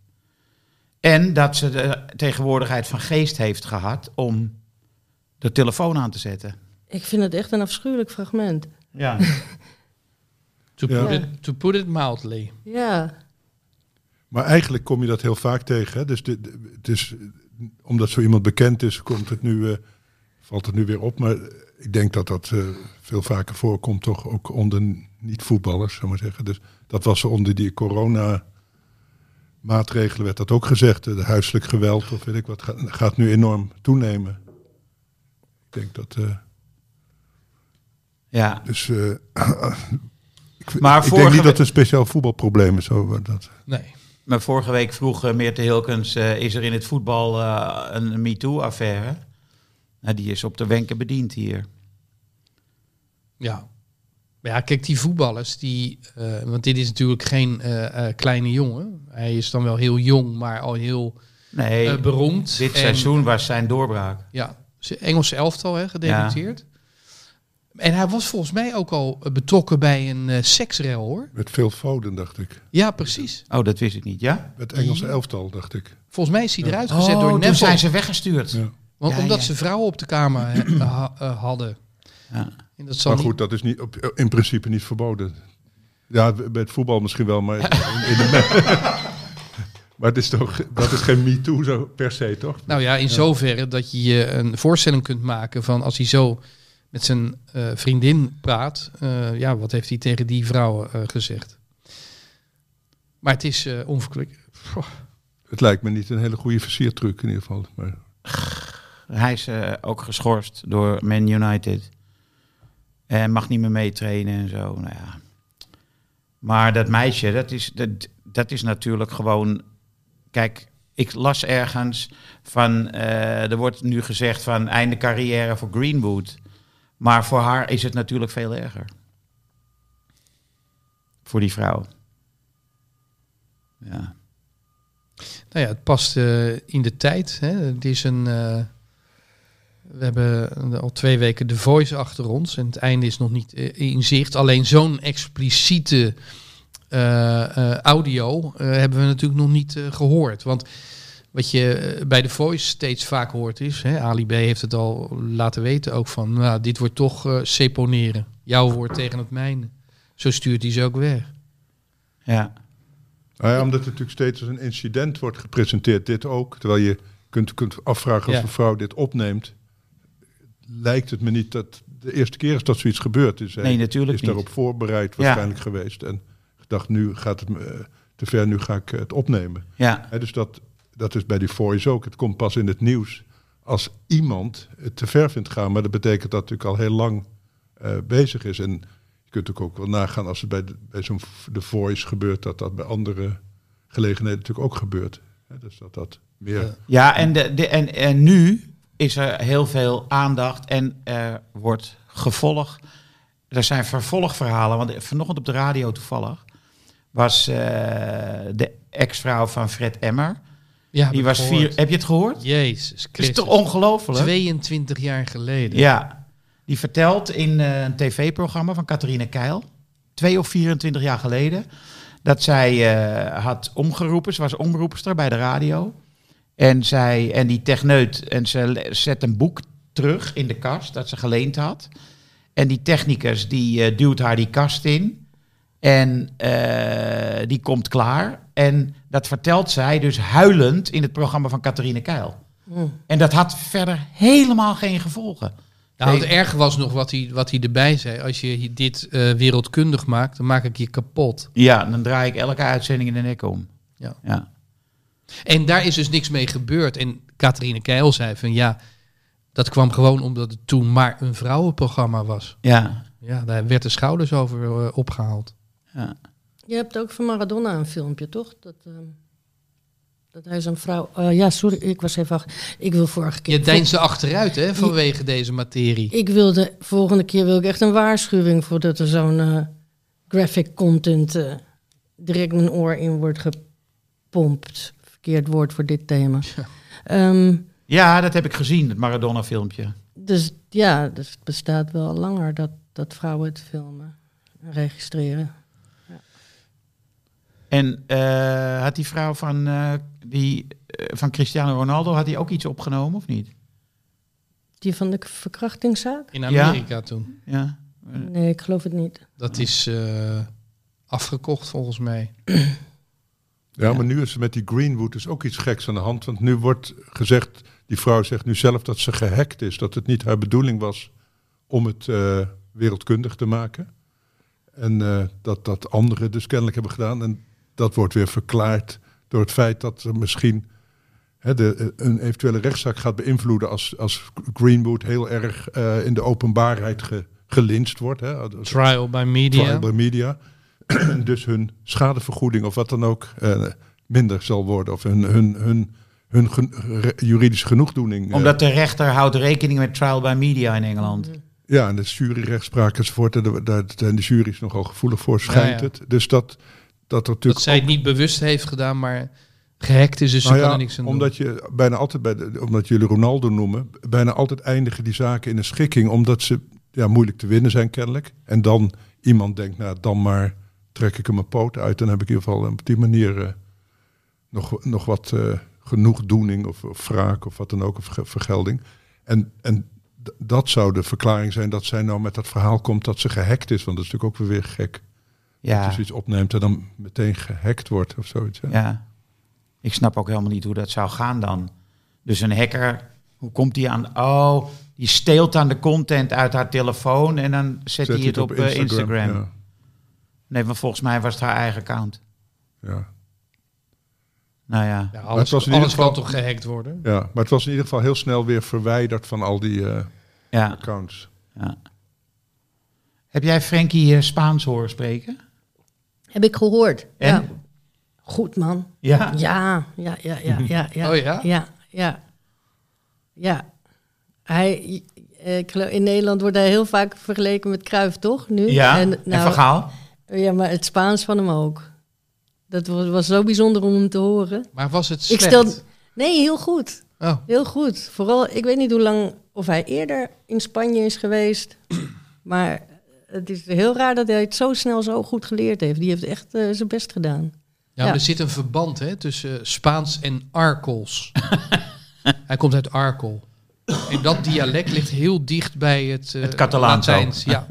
[SPEAKER 3] En dat ze de tegenwoordigheid van geest heeft gehad om de telefoon aan te zetten.
[SPEAKER 5] Ik vind het echt een afschuwelijk fragment.
[SPEAKER 3] Ja.
[SPEAKER 1] To,
[SPEAKER 2] Ja.
[SPEAKER 1] put it, to put it mildly.
[SPEAKER 5] Ja,
[SPEAKER 2] Maar eigenlijk kom je dat heel vaak tegen. Hè? Dus dit- het is, omdat zo iemand bekend is, komt het nu, eh, valt het nu weer op. Maar ik denk dat dat eh, veel vaker voorkomt, toch ook onder niet-voetballers, zou maar zeggen. Dus dat was onder die corona-maatregelen, werd eh, dat ook gezegd. De huiselijk geweld of weet ik wat, gaat, gaat nu enorm toenemen. Ik denk dat. eh,
[SPEAKER 3] Ja.
[SPEAKER 2] dus. eh, ik,
[SPEAKER 3] Maar
[SPEAKER 2] ik denk
[SPEAKER 3] vorige
[SPEAKER 2] niet dat
[SPEAKER 3] we-
[SPEAKER 2] het een speciaal voetbalprobleem is. Over dat.
[SPEAKER 1] Nee.
[SPEAKER 3] Maar vorige week vroeg eh, Meerte Hilkens, eh, is er in het voetbal eh, een MeToo-affaire? Nou, die is op de wenken bediend hier.
[SPEAKER 1] Ja. Maar ja, kijk, die voetballers, die, eh, want dit is natuurlijk geen eh, eh, kleine jongen. Hij is dan wel heel jong, maar al heel
[SPEAKER 3] Nee,
[SPEAKER 1] eh, beroemd.
[SPEAKER 3] dit
[SPEAKER 1] En-
[SPEAKER 3] seizoen was zijn doorbraak.
[SPEAKER 1] Ja, ze- Engelse elftal, hè, gedebuteerd. En hij was volgens mij ook al eh, betrokken bij een eh, seksrel, hoor.
[SPEAKER 2] Met veel fouten, dacht ik.
[SPEAKER 1] Ja, precies.
[SPEAKER 3] Oh, dat wist ik niet, ja?
[SPEAKER 2] Met Engelse elftal, dacht ik.
[SPEAKER 1] Volgens mij is hij
[SPEAKER 2] Ja.
[SPEAKER 1] eruit gezet door
[SPEAKER 3] Oh, toen
[SPEAKER 1] Neville.
[SPEAKER 3] zijn ze weggestuurd.
[SPEAKER 2] Ja.
[SPEAKER 1] Want
[SPEAKER 3] Ja,
[SPEAKER 1] omdat
[SPEAKER 3] ja.
[SPEAKER 1] ze vrouwen op de kamer eh, [CLEARS THROAT] ha- eh, hadden.
[SPEAKER 3] Ja.
[SPEAKER 1] En dat zal
[SPEAKER 2] Maar
[SPEAKER 1] niet-
[SPEAKER 2] goed, dat is niet, op, in principe niet verboden. Ja, bij het voetbal misschien wel, maar. in de, [LAUGHS] maar het is toch, dat is geen MeToo zo per se, toch?
[SPEAKER 1] Nou ja, in zoverre dat je je een voorstelling kunt maken van als hij zo met zijn eh, vriendin praat. eh, ja, wat heeft hij tegen die vrouw eh, gezegd? Maar het is eh onverklaarbaar.
[SPEAKER 2] Het lijkt me niet een hele goede versiertruc in ieder geval. Maar
[SPEAKER 3] Hij is eh, ook geschorst door Man United. En mag niet meer meetrainen en zo. Nou ja. Maar dat meisje, dat is, dat, dat is natuurlijk gewoon. Kijk, ik las ergens van. eh, er wordt nu gezegd van einde carrière voor Greenwood. Maar voor haar is het natuurlijk veel erger. Voor die vrouw. Ja.
[SPEAKER 1] Nou ja, het past eh, in de tijd. Hè. Het is een. eh, we hebben al twee weken de voice achter ons en het einde is nog niet eh, in zicht. Alleen zo'n expliciete eh, eh, audio eh, hebben we natuurlijk nog niet eh, gehoord. Want wat je eh, bij de voice steeds vaak hoort is, hè, Ali B heeft het al laten weten ook van, nou, dit wordt toch eh, seponeren. Jouw woord tegen het mijne. Zo stuurt hij ze ook weg.
[SPEAKER 3] ja.
[SPEAKER 2] Nou ja, omdat het natuurlijk steeds als een incident wordt gepresenteerd, dit ook. Terwijl je kunt, kunt afvragen als
[SPEAKER 1] Ja.
[SPEAKER 2] een vrouw dit opneemt. Lijkt het me niet dat de eerste keer is dat zoiets gebeurd is. Hij
[SPEAKER 3] Nee, natuurlijk
[SPEAKER 2] is
[SPEAKER 3] niet.
[SPEAKER 2] daarop voorbereid waarschijnlijk geweest. En gedacht, nu gaat het me, eh, te ver, nu ga ik eh, het opnemen.
[SPEAKER 3] Ja.
[SPEAKER 2] Hè, dus dat, dat is bij die Voice ook. Het komt pas in het nieuws als iemand het te ver vindt gaan. Maar dat betekent dat het natuurlijk al heel lang eh, bezig is. En je kunt natuurlijk ook wel nagaan als het bij, de- bij zo'n v- de Voice gebeurt, dat dat bij andere gelegenheden natuurlijk ook gebeurt. Hè, dus dat dat meer.
[SPEAKER 1] Ja.
[SPEAKER 3] Ja, en, de, de, en, en nu is er heel veel aandacht en er wordt gevolg. Er zijn vervolgverhalen, want vanochtend op de radio toevallig was eh, de ex-vrouw van Fred Emmer.
[SPEAKER 1] Ja, heb
[SPEAKER 3] Die
[SPEAKER 1] ik
[SPEAKER 3] was
[SPEAKER 1] gehoord.
[SPEAKER 3] vier. Heb je het gehoord?
[SPEAKER 1] Jezus
[SPEAKER 3] Het is
[SPEAKER 1] Christus.
[SPEAKER 3] toch ongelooflijk?
[SPEAKER 1] 22 jaar geleden.
[SPEAKER 3] Ja, die vertelt in eh, een tv-programma van Catharine Keil, twee of 24 jaar geleden, dat zij eh, had omgeroepen, ze was omroepster bij de radio. En, zij, en die techneut, en ze le- zet een boek terug in de kast dat ze geleend had. En die technicus die eh, duwt haar die kast in. En eh, die komt klaar. En dat vertelt zij dus huilend in het programma van Catharine Keil. En dat had verder helemaal geen gevolgen.
[SPEAKER 1] Nou, het
[SPEAKER 3] Nee.
[SPEAKER 1] erg was nog wat hij, wat hij erbij zei. Als je hier dit eh, wereldkundig maakt, dan maak ik je kapot.
[SPEAKER 3] Ja, dan draai ik elke uitzending in de nek om.
[SPEAKER 1] Ja.
[SPEAKER 3] ja.
[SPEAKER 1] En daar is dus niks mee gebeurd. En Catharine Keil zei van ja, dat kwam gewoon omdat het toen maar een vrouwenprogramma was.
[SPEAKER 3] Ja.
[SPEAKER 1] Ja, daar werd de schouders over eh, opgehaald.
[SPEAKER 5] Je hebt ook van Maradona een filmpje, toch? Dat, ehm, dat hij zo'n vrouw... eh, ja, sorry, ik was even... achter- Ik wil vorige keer...
[SPEAKER 1] Je deinsde achteruit hè, vanwege deze materie.
[SPEAKER 5] Ik wilde... Volgende keer wil ik echt een waarschuwing... voordat er zo'n eh, graphic content... eh, direct mijn oor in wordt gepompt. Verkeerd woord voor dit thema. Ehm,
[SPEAKER 3] ja, dat heb ik gezien, het Maradona-filmpje.
[SPEAKER 5] dus ja, dus het bestaat wel al langer... dat, dat vrouwen het filmen en registreren.
[SPEAKER 3] En eh, had die vrouw van, eh, die, eh, van Cristiano Ronaldo had die ook iets opgenomen, of niet?
[SPEAKER 5] Die van de k- verkrachtingszaak?
[SPEAKER 1] In Amerika toen.
[SPEAKER 3] Ja.
[SPEAKER 5] Nee, ik geloof het niet.
[SPEAKER 1] Dat is eh, afgekocht volgens mij.
[SPEAKER 2] Ja, maar nu is er met die Greenwood dus ook iets geks aan de hand. Want nu wordt gezegd, die vrouw zegt nu zelf dat ze gehackt is. Dat het niet haar bedoeling was om het eh, wereldkundig te maken. En eh, dat dat anderen dus kennelijk hebben gedaan. En dat wordt weer verklaard door het feit dat er misschien hè, de, eh, een eventuele rechtszaak gaat beïnvloeden als, als Greenwood heel erg eh, in de openbaarheid ge, gelinst wordt. Hè, als- als-
[SPEAKER 1] Trial by media.
[SPEAKER 2] trial by media. [CLEARS THROAT] dus hun schadevergoeding of wat dan ook eh, minder zal worden. Of hun, hun, hun, hun gen- re- juridische genoegdoening. eh,
[SPEAKER 3] Omdat de rechter houdt rekening met trial by media in Engeland.
[SPEAKER 2] ja, en de juryrechtspraak enzovoort. En daar- daar zijn de jury's nogal gevoelig voor, schijnt
[SPEAKER 1] ja.
[SPEAKER 2] het. Dus dat, dat er natuurlijk
[SPEAKER 1] dat zij het niet bewust heeft gedaan, maar gehackt is, dus
[SPEAKER 2] Nou
[SPEAKER 1] ze kan
[SPEAKER 2] ja,
[SPEAKER 1] er niks aan doen.
[SPEAKER 2] omdat je bijna altijd bij de, omdat jullie Ronaldo noemen, bijna altijd eindigen die zaken in een schikking, omdat ze ja, moeilijk te winnen zijn kennelijk. En dan iemand denkt, nou dan maar trek ik hem mijn poot uit, dan heb ik in ieder geval op die manier eh, nog, nog wat eh, genoegdoening of, of wraak of wat dan ook, of ge- vergelding. En, en d- dat zou de verklaring zijn dat zij nou met dat verhaal komt dat ze gehackt is, want dat is natuurlijk ook weer weer gek.
[SPEAKER 3] Ja.
[SPEAKER 2] Dat je zoiets opneemt en dan meteen gehackt wordt of zoiets. hè?
[SPEAKER 3] Ja. Ik snap ook helemaal niet hoe dat zou gaan dan. Dus een hacker, hoe komt die aan? Oh, die steelt aan de content uit haar telefoon en dan zet, hij
[SPEAKER 2] je
[SPEAKER 3] het op, eh, Instagram.
[SPEAKER 2] ja.
[SPEAKER 3] Nee, maar volgens mij was het haar eigen account.
[SPEAKER 2] Ja.
[SPEAKER 3] Nou ja.
[SPEAKER 1] Ja,
[SPEAKER 2] het
[SPEAKER 1] alles
[SPEAKER 2] was in ieder
[SPEAKER 1] alles kan
[SPEAKER 2] geval-
[SPEAKER 1] toch gehackt worden?
[SPEAKER 2] ja, maar het was in ieder geval heel snel weer verwijderd van al die eh,
[SPEAKER 3] ja.
[SPEAKER 2] accounts.
[SPEAKER 3] Heb jij Frankie eh, Spaans horen spreken?
[SPEAKER 5] Heb ik gehoord.
[SPEAKER 3] En?
[SPEAKER 5] Ja. Goed man.
[SPEAKER 3] Ja.
[SPEAKER 5] Ja, ja, ja, ja, ja. ja.
[SPEAKER 1] Oh ja?
[SPEAKER 5] Ja, ja. Ja. Hij, eh, ik geloof- in Nederland wordt hij heel vaak vergeleken met Kruif, toch? Nu?
[SPEAKER 3] Ja, en,
[SPEAKER 5] nou,
[SPEAKER 3] Van Gaal?
[SPEAKER 5] Ja, maar het Spaans van hem ook. Dat was, was zo bijzonder om hem te horen.
[SPEAKER 1] Maar was het slecht?
[SPEAKER 5] Ik stel... Nee, heel goed.
[SPEAKER 1] Oh,
[SPEAKER 5] Heel goed. Vooral, ik weet niet hoe lang of hij eerder in Spanje is
[SPEAKER 1] [CLEARS THROAT]
[SPEAKER 5] geweest. maar het is heel raar dat hij het zo snel zo goed geleerd heeft. Die heeft echt eh, zijn best gedaan.
[SPEAKER 1] ja, maar
[SPEAKER 5] Ja.
[SPEAKER 1] er zit een verband hè, tussen eh, Spaans en
[SPEAKER 2] [LAUGHS]
[SPEAKER 1] Arkels. Hij komt uit Arkel. En dat dialect ligt heel dicht bij het, eh
[SPEAKER 3] Het Catalaans ook.
[SPEAKER 1] Latijns.
[SPEAKER 2] [LAUGHS]
[SPEAKER 1] Ja.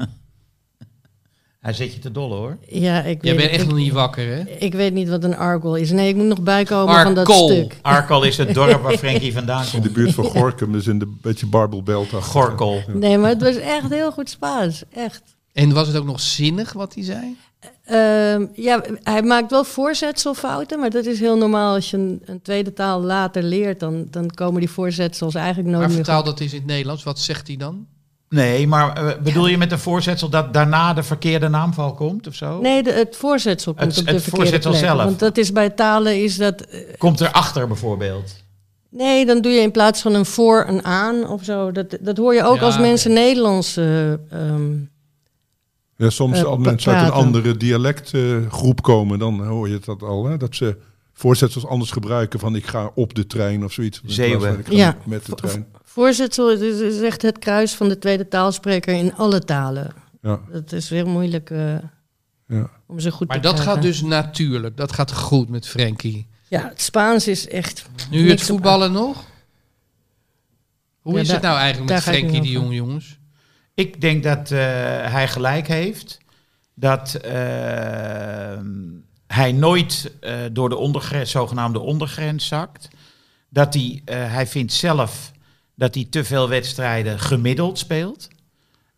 [SPEAKER 3] Hij zit je te dolle hoor.
[SPEAKER 5] Ja, ik
[SPEAKER 1] Jij
[SPEAKER 5] weet
[SPEAKER 1] bent echt
[SPEAKER 5] ik,
[SPEAKER 1] nog niet wakker, hè?
[SPEAKER 5] ik weet niet wat een argol is. Nee, ik moet nog bijkomen van dat
[SPEAKER 1] Arcol.
[SPEAKER 5] stuk.
[SPEAKER 3] Arkel is het dorp waar Frankie vandaan
[SPEAKER 2] In de
[SPEAKER 3] komt.
[SPEAKER 2] buurt van Gorkum, dus in de beetje barbelbelt.
[SPEAKER 3] Gorkel.
[SPEAKER 5] Nee, maar het was echt heel goed Spaans. Echt.
[SPEAKER 1] En was het ook nog zinnig wat hij zei?
[SPEAKER 5] Ehm, ja, hij maakt wel voorzetselfouten, maar dat is heel normaal. Als je een, een tweede taal later leert, dan, dan komen die voorzetsels eigenlijk nooit
[SPEAKER 1] Maar
[SPEAKER 5] meer
[SPEAKER 1] vertaal
[SPEAKER 5] goed.
[SPEAKER 1] dat eens in het Nederlands. Wat zegt hij dan?
[SPEAKER 3] Nee, maar eh, bedoel je met een voorzetsel dat daarna de verkeerde naamval komt of
[SPEAKER 1] Oh.
[SPEAKER 3] zo?
[SPEAKER 5] Nee, de- het voorzetsel komt
[SPEAKER 3] Het-
[SPEAKER 5] op de
[SPEAKER 3] het
[SPEAKER 5] verkeerde
[SPEAKER 3] voorzetsel
[SPEAKER 5] plek.
[SPEAKER 3] zelf.
[SPEAKER 5] Want dat is bij talen is dat... eh,
[SPEAKER 3] Komt erachter bijvoorbeeld?
[SPEAKER 5] Nee, dan doe je in plaats van een voor een aan of zo. Dat, dat hoor je ook
[SPEAKER 1] Ja,
[SPEAKER 5] als
[SPEAKER 1] oké.
[SPEAKER 5] mensen Nederlands... eh, ehm,
[SPEAKER 2] Ja, soms
[SPEAKER 5] Eh,
[SPEAKER 2] al mensen uit een
[SPEAKER 5] praten.
[SPEAKER 2] andere dialectgroep komen, dan hoor je dat al. Hè? Dat ze voorzetsels anders gebruiken van ik ga op de trein of zoiets. In plaats
[SPEAKER 3] Zeeuwen.
[SPEAKER 2] van, Ik ga
[SPEAKER 5] Ja.
[SPEAKER 2] met de trein.
[SPEAKER 5] voorzetsel het is, is echt het kruis van de tweede taalspreker in alle talen.
[SPEAKER 2] Ja,
[SPEAKER 5] Dat is heel moeilijk eh,
[SPEAKER 2] ja.
[SPEAKER 5] om ze goed
[SPEAKER 1] Maar
[SPEAKER 5] te
[SPEAKER 1] dat gaat
[SPEAKER 5] krijgen.
[SPEAKER 1] dus natuurlijk. Dat gaat goed met Frankie.
[SPEAKER 5] Ja, het Spaans is echt...
[SPEAKER 1] Nu
[SPEAKER 5] Niks
[SPEAKER 1] het
[SPEAKER 5] op
[SPEAKER 1] voetballen nog? Hoe
[SPEAKER 5] Ja,
[SPEAKER 1] is
[SPEAKER 5] daar-
[SPEAKER 1] het nou eigenlijk met
[SPEAKER 5] daar ga ik
[SPEAKER 1] Frankie
[SPEAKER 5] niet
[SPEAKER 1] de
[SPEAKER 5] over.
[SPEAKER 1] Jong, jongens?
[SPEAKER 3] Ik denk dat eh, hij gelijk heeft. Dat eh, hij nooit eh, door de ondergrens, zogenaamde ondergrens zakt. Dat hij, eh, hij vindt zelf dat hij te veel wedstrijden gemiddeld speelt.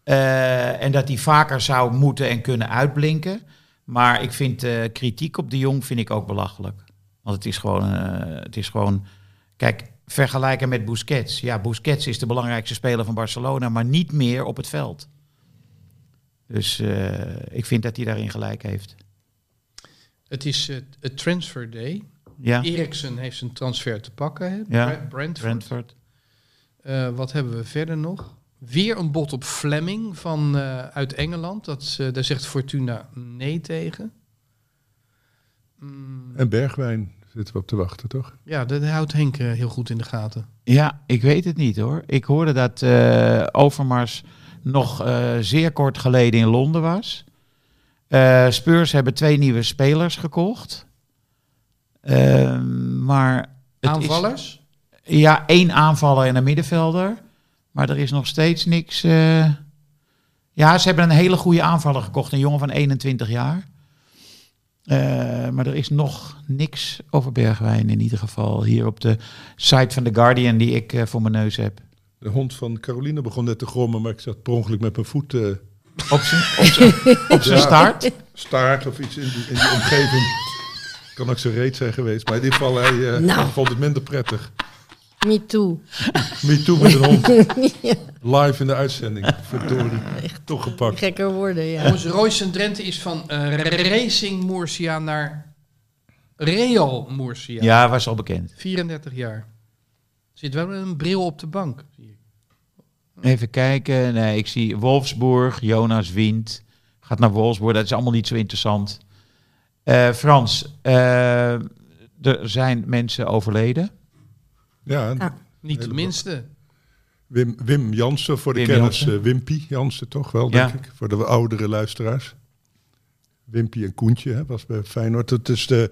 [SPEAKER 3] Eh, en dat hij vaker zou moeten en kunnen uitblinken. Maar ik vind eh, kritiek op de jong vind ik ook belachelijk. Want het is gewoon, eh, het is gewoon Kijk, vergelijken met Busquets. Ja, Busquets is de belangrijkste speler van Barcelona, maar niet meer op het veld. Dus eh, ik vind dat hij daarin gelijk heeft.
[SPEAKER 1] Het is eh, het transfer day.
[SPEAKER 3] Ja,
[SPEAKER 1] Eriksen heeft zijn transfer te pakken. Hè?
[SPEAKER 3] Ja.
[SPEAKER 1] Bra- Brentford.
[SPEAKER 3] Brentford.
[SPEAKER 1] Eh, wat hebben we verder nog? Weer een bot op Fleming van, eh, uit Engeland. Dat, is, eh, daar zegt Fortuna nee tegen. Mm,
[SPEAKER 2] En Bergwijn zitten we op te wachten, toch?
[SPEAKER 1] ja, dat houdt Henk eh, heel goed in de gaten.
[SPEAKER 3] Ja, ik weet het niet hoor. Ik hoorde dat eh, Overmars nog eh, zeer kort geleden in Londen was. Eh Spurs hebben twee nieuwe spelers gekocht. Ehm, maar het is-
[SPEAKER 1] Aanvallers?
[SPEAKER 3] Ja, één aanvaller en een middenvelder. Maar er is nog steeds niks. eh. Ja, ze hebben een hele goede aanvaller gekocht. Een jongen van 21 jaar. Eh, maar er is nog niks over Bergwijn in ieder geval. Hier op de site van The Guardian die ik eh, voor mijn neus heb.
[SPEAKER 2] De hond van Caroline begon net te grommen, maar ik zat per ongeluk met mijn voet eh,
[SPEAKER 3] Op zijn- op zijn- op zijn
[SPEAKER 2] Ja.
[SPEAKER 3] start.
[SPEAKER 2] staart of iets in die, in die omgeving. Kan ook zo reet zijn geweest, maar in ieder geval hij eh,
[SPEAKER 5] Nou.
[SPEAKER 2] vond het minder prettig.
[SPEAKER 5] Me too.
[SPEAKER 2] Me too met een hond. Live in de uitzending. Verdorie. Toch gepakt.
[SPEAKER 5] Gekker worden, ja.
[SPEAKER 1] Jongens, Royce en Drenthe is van eh, Racing Murcia naar Real Murcia.
[SPEAKER 3] Ja, was al bekend.
[SPEAKER 1] 34 jaar. Zit wel met een bril op de bank. zie ik.
[SPEAKER 3] Even kijken. Nee, ik zie Wolfsburg, Jonas Wind. Gaat naar Wolfsburg. Dat is allemaal niet zo interessant. Eh, Frans, eh, er zijn mensen overleden.
[SPEAKER 2] Ja, en
[SPEAKER 5] Ah.
[SPEAKER 1] Niet de
[SPEAKER 2] Hele
[SPEAKER 1] minste.
[SPEAKER 2] Wim, Wim Jansen voor de
[SPEAKER 3] Wim
[SPEAKER 2] kennis.
[SPEAKER 3] Jansen.
[SPEAKER 2] eh, Wimpy Jansen toch wel,
[SPEAKER 3] Ja.
[SPEAKER 2] denk ik. Voor de oudere luisteraars. Wimpy en Koentje hè, was bij Feyenoord. Dat is de,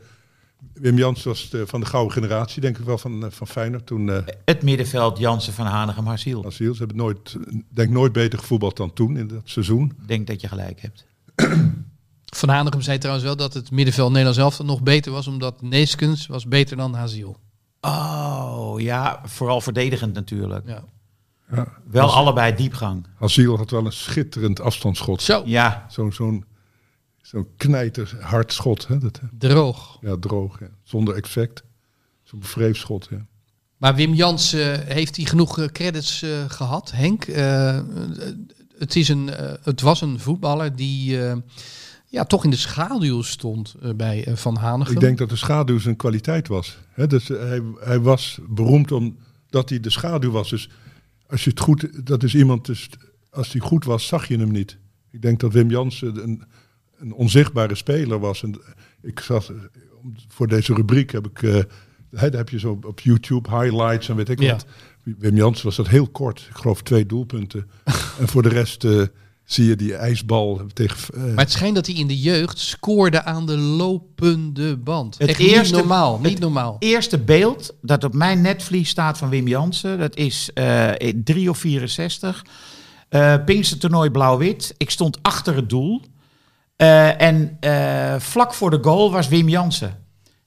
[SPEAKER 2] Wim Jansen was de, van de gouden generatie, denk ik wel, van, eh, van Feyenoord. Toen eh
[SPEAKER 3] Het middenveld Jansen van Hanegem Harsiel.
[SPEAKER 2] asiel. Ze hebben nooit, denk nooit beter gevoetbald dan toen in dat seizoen.
[SPEAKER 3] Ik denk dat je gelijk hebt.
[SPEAKER 1] Van Hanegem zei trouwens wel dat het middenveld Nederland zelf nog beter was, omdat Neeskens was beter dan Haziel.
[SPEAKER 3] Oh, ja. Vooral verdedigend natuurlijk.
[SPEAKER 1] Ja.
[SPEAKER 3] Wel allebei diepgang.
[SPEAKER 2] Asiel had wel een schitterend afstandsschot.
[SPEAKER 1] Zo,
[SPEAKER 3] Ja,
[SPEAKER 2] Zo'n zo'n zo'n knijterhard schot. Hè? Dat, eh,
[SPEAKER 1] droog.
[SPEAKER 2] ja, droog. ja. Zonder effect. Zo'n vreefschot. Ja.
[SPEAKER 1] Maar Wim Jans, eh, heeft hij genoeg eh, credits eh, gehad, Henk? Eh, eh, het, is een, eh, het was een voetballer die eh, ja, toch in de schaduw stond eh, bij eh, Van Hanegem.
[SPEAKER 2] Ik denk dat de schaduw zijn kwaliteit was. Hè, dus hij, hij was beroemd omdat hij de schaduw was. Dus als je het goed, dat is iemand, dus als hij goed was, zag je hem niet. Ik denk dat Wim Jansen een, een onzichtbare speler was. En ik zat, voor deze rubriek heb ik, eh, hè, daar heb je zo op YouTube highlights en weet ik
[SPEAKER 1] Ja.
[SPEAKER 2] wat. Wim Jansen was dat heel kort. Ik geloof twee doelpunten. en voor de rest eh, zie je die ijsbal tegen... eh,
[SPEAKER 1] Maar het schijnt dat hij in de jeugd scoorde aan de lopende band.
[SPEAKER 3] Het
[SPEAKER 1] Echt
[SPEAKER 3] eerste-
[SPEAKER 1] niet normaal, niet
[SPEAKER 3] het-
[SPEAKER 1] normaal.
[SPEAKER 3] eerste beeld dat op mijn netvlies staat van Wim Jansen. Dat is eh 3 of 64. Eh Pinkstertoernooi blauw-wit. Ik stond achter het doel. Eh, en eh, vlak voor de goal was Wim Jansen.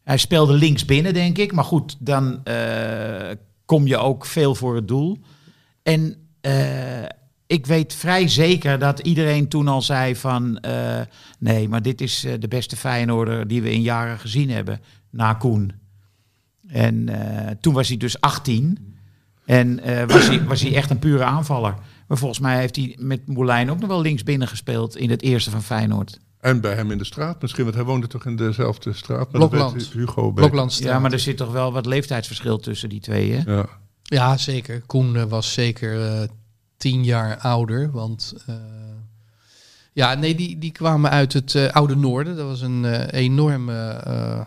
[SPEAKER 3] Hij speelde links binnen, denk ik. Maar goed, dan eh, kom je ook veel voor het doel. En eh, ik weet vrij zeker dat iedereen toen al zei van... eh, nee, maar dit is eh, de beste Feyenoorder die we in jaren gezien hebben. Na Koen. En eh, toen was hij dus 18. En eh, was, hij, was hij echt een pure aanvaller. Maar volgens mij heeft hij met Moulijn ook nog wel links binnen gespeeld in het eerste van Feyenoord.
[SPEAKER 2] En bij hem in de straat misschien, want hij woonde toch in dezelfde straat. Maar
[SPEAKER 1] Blokland.
[SPEAKER 2] dat weet Hugo beter.
[SPEAKER 1] Bloklandstraat.
[SPEAKER 3] Ja, maar er zit toch wel wat leeftijdsverschil tussen die twee, hè?
[SPEAKER 2] Ja.
[SPEAKER 3] dus-
[SPEAKER 1] Ja, zeker. Koen eh, was zeker eh, tien jaar ouder. Want eh, ja, nee, die, die kwamen uit het eh, Oude Noorden. Dat was een eh enorme eh,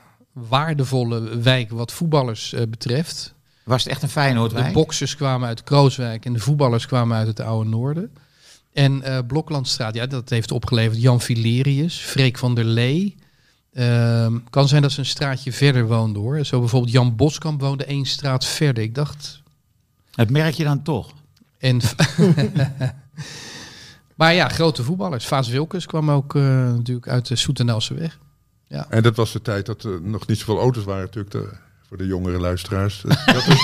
[SPEAKER 1] waardevolle wijk wat voetballers eh, betreft.
[SPEAKER 3] Was het echt een Feyenoord
[SPEAKER 1] De boksers kwamen uit Krooswijk en de voetballers kwamen uit het Oude Noorden. En eh, Bloklandstraat, ja, dat heeft opgeleverd Jan Filerius, Freek van der Lee. Ehm, kan zijn dat ze een straatje verder woonden hoor. Zo bijvoorbeeld Jan Boskamp woonde één straat verder. Ik dacht,
[SPEAKER 3] Dat merk je dan toch.
[SPEAKER 1] en [LAUGHS] maar ja, grote voetballers. Vaas Wilkes kwam ook eh, natuurlijk uit de Soetenelse weg.
[SPEAKER 2] En dat was de tijd dat er nog niet zoveel auto's waren natuurlijk, de- voor de jongere luisteraars.
[SPEAKER 1] [LAUGHS]
[SPEAKER 2] Dus dat, er,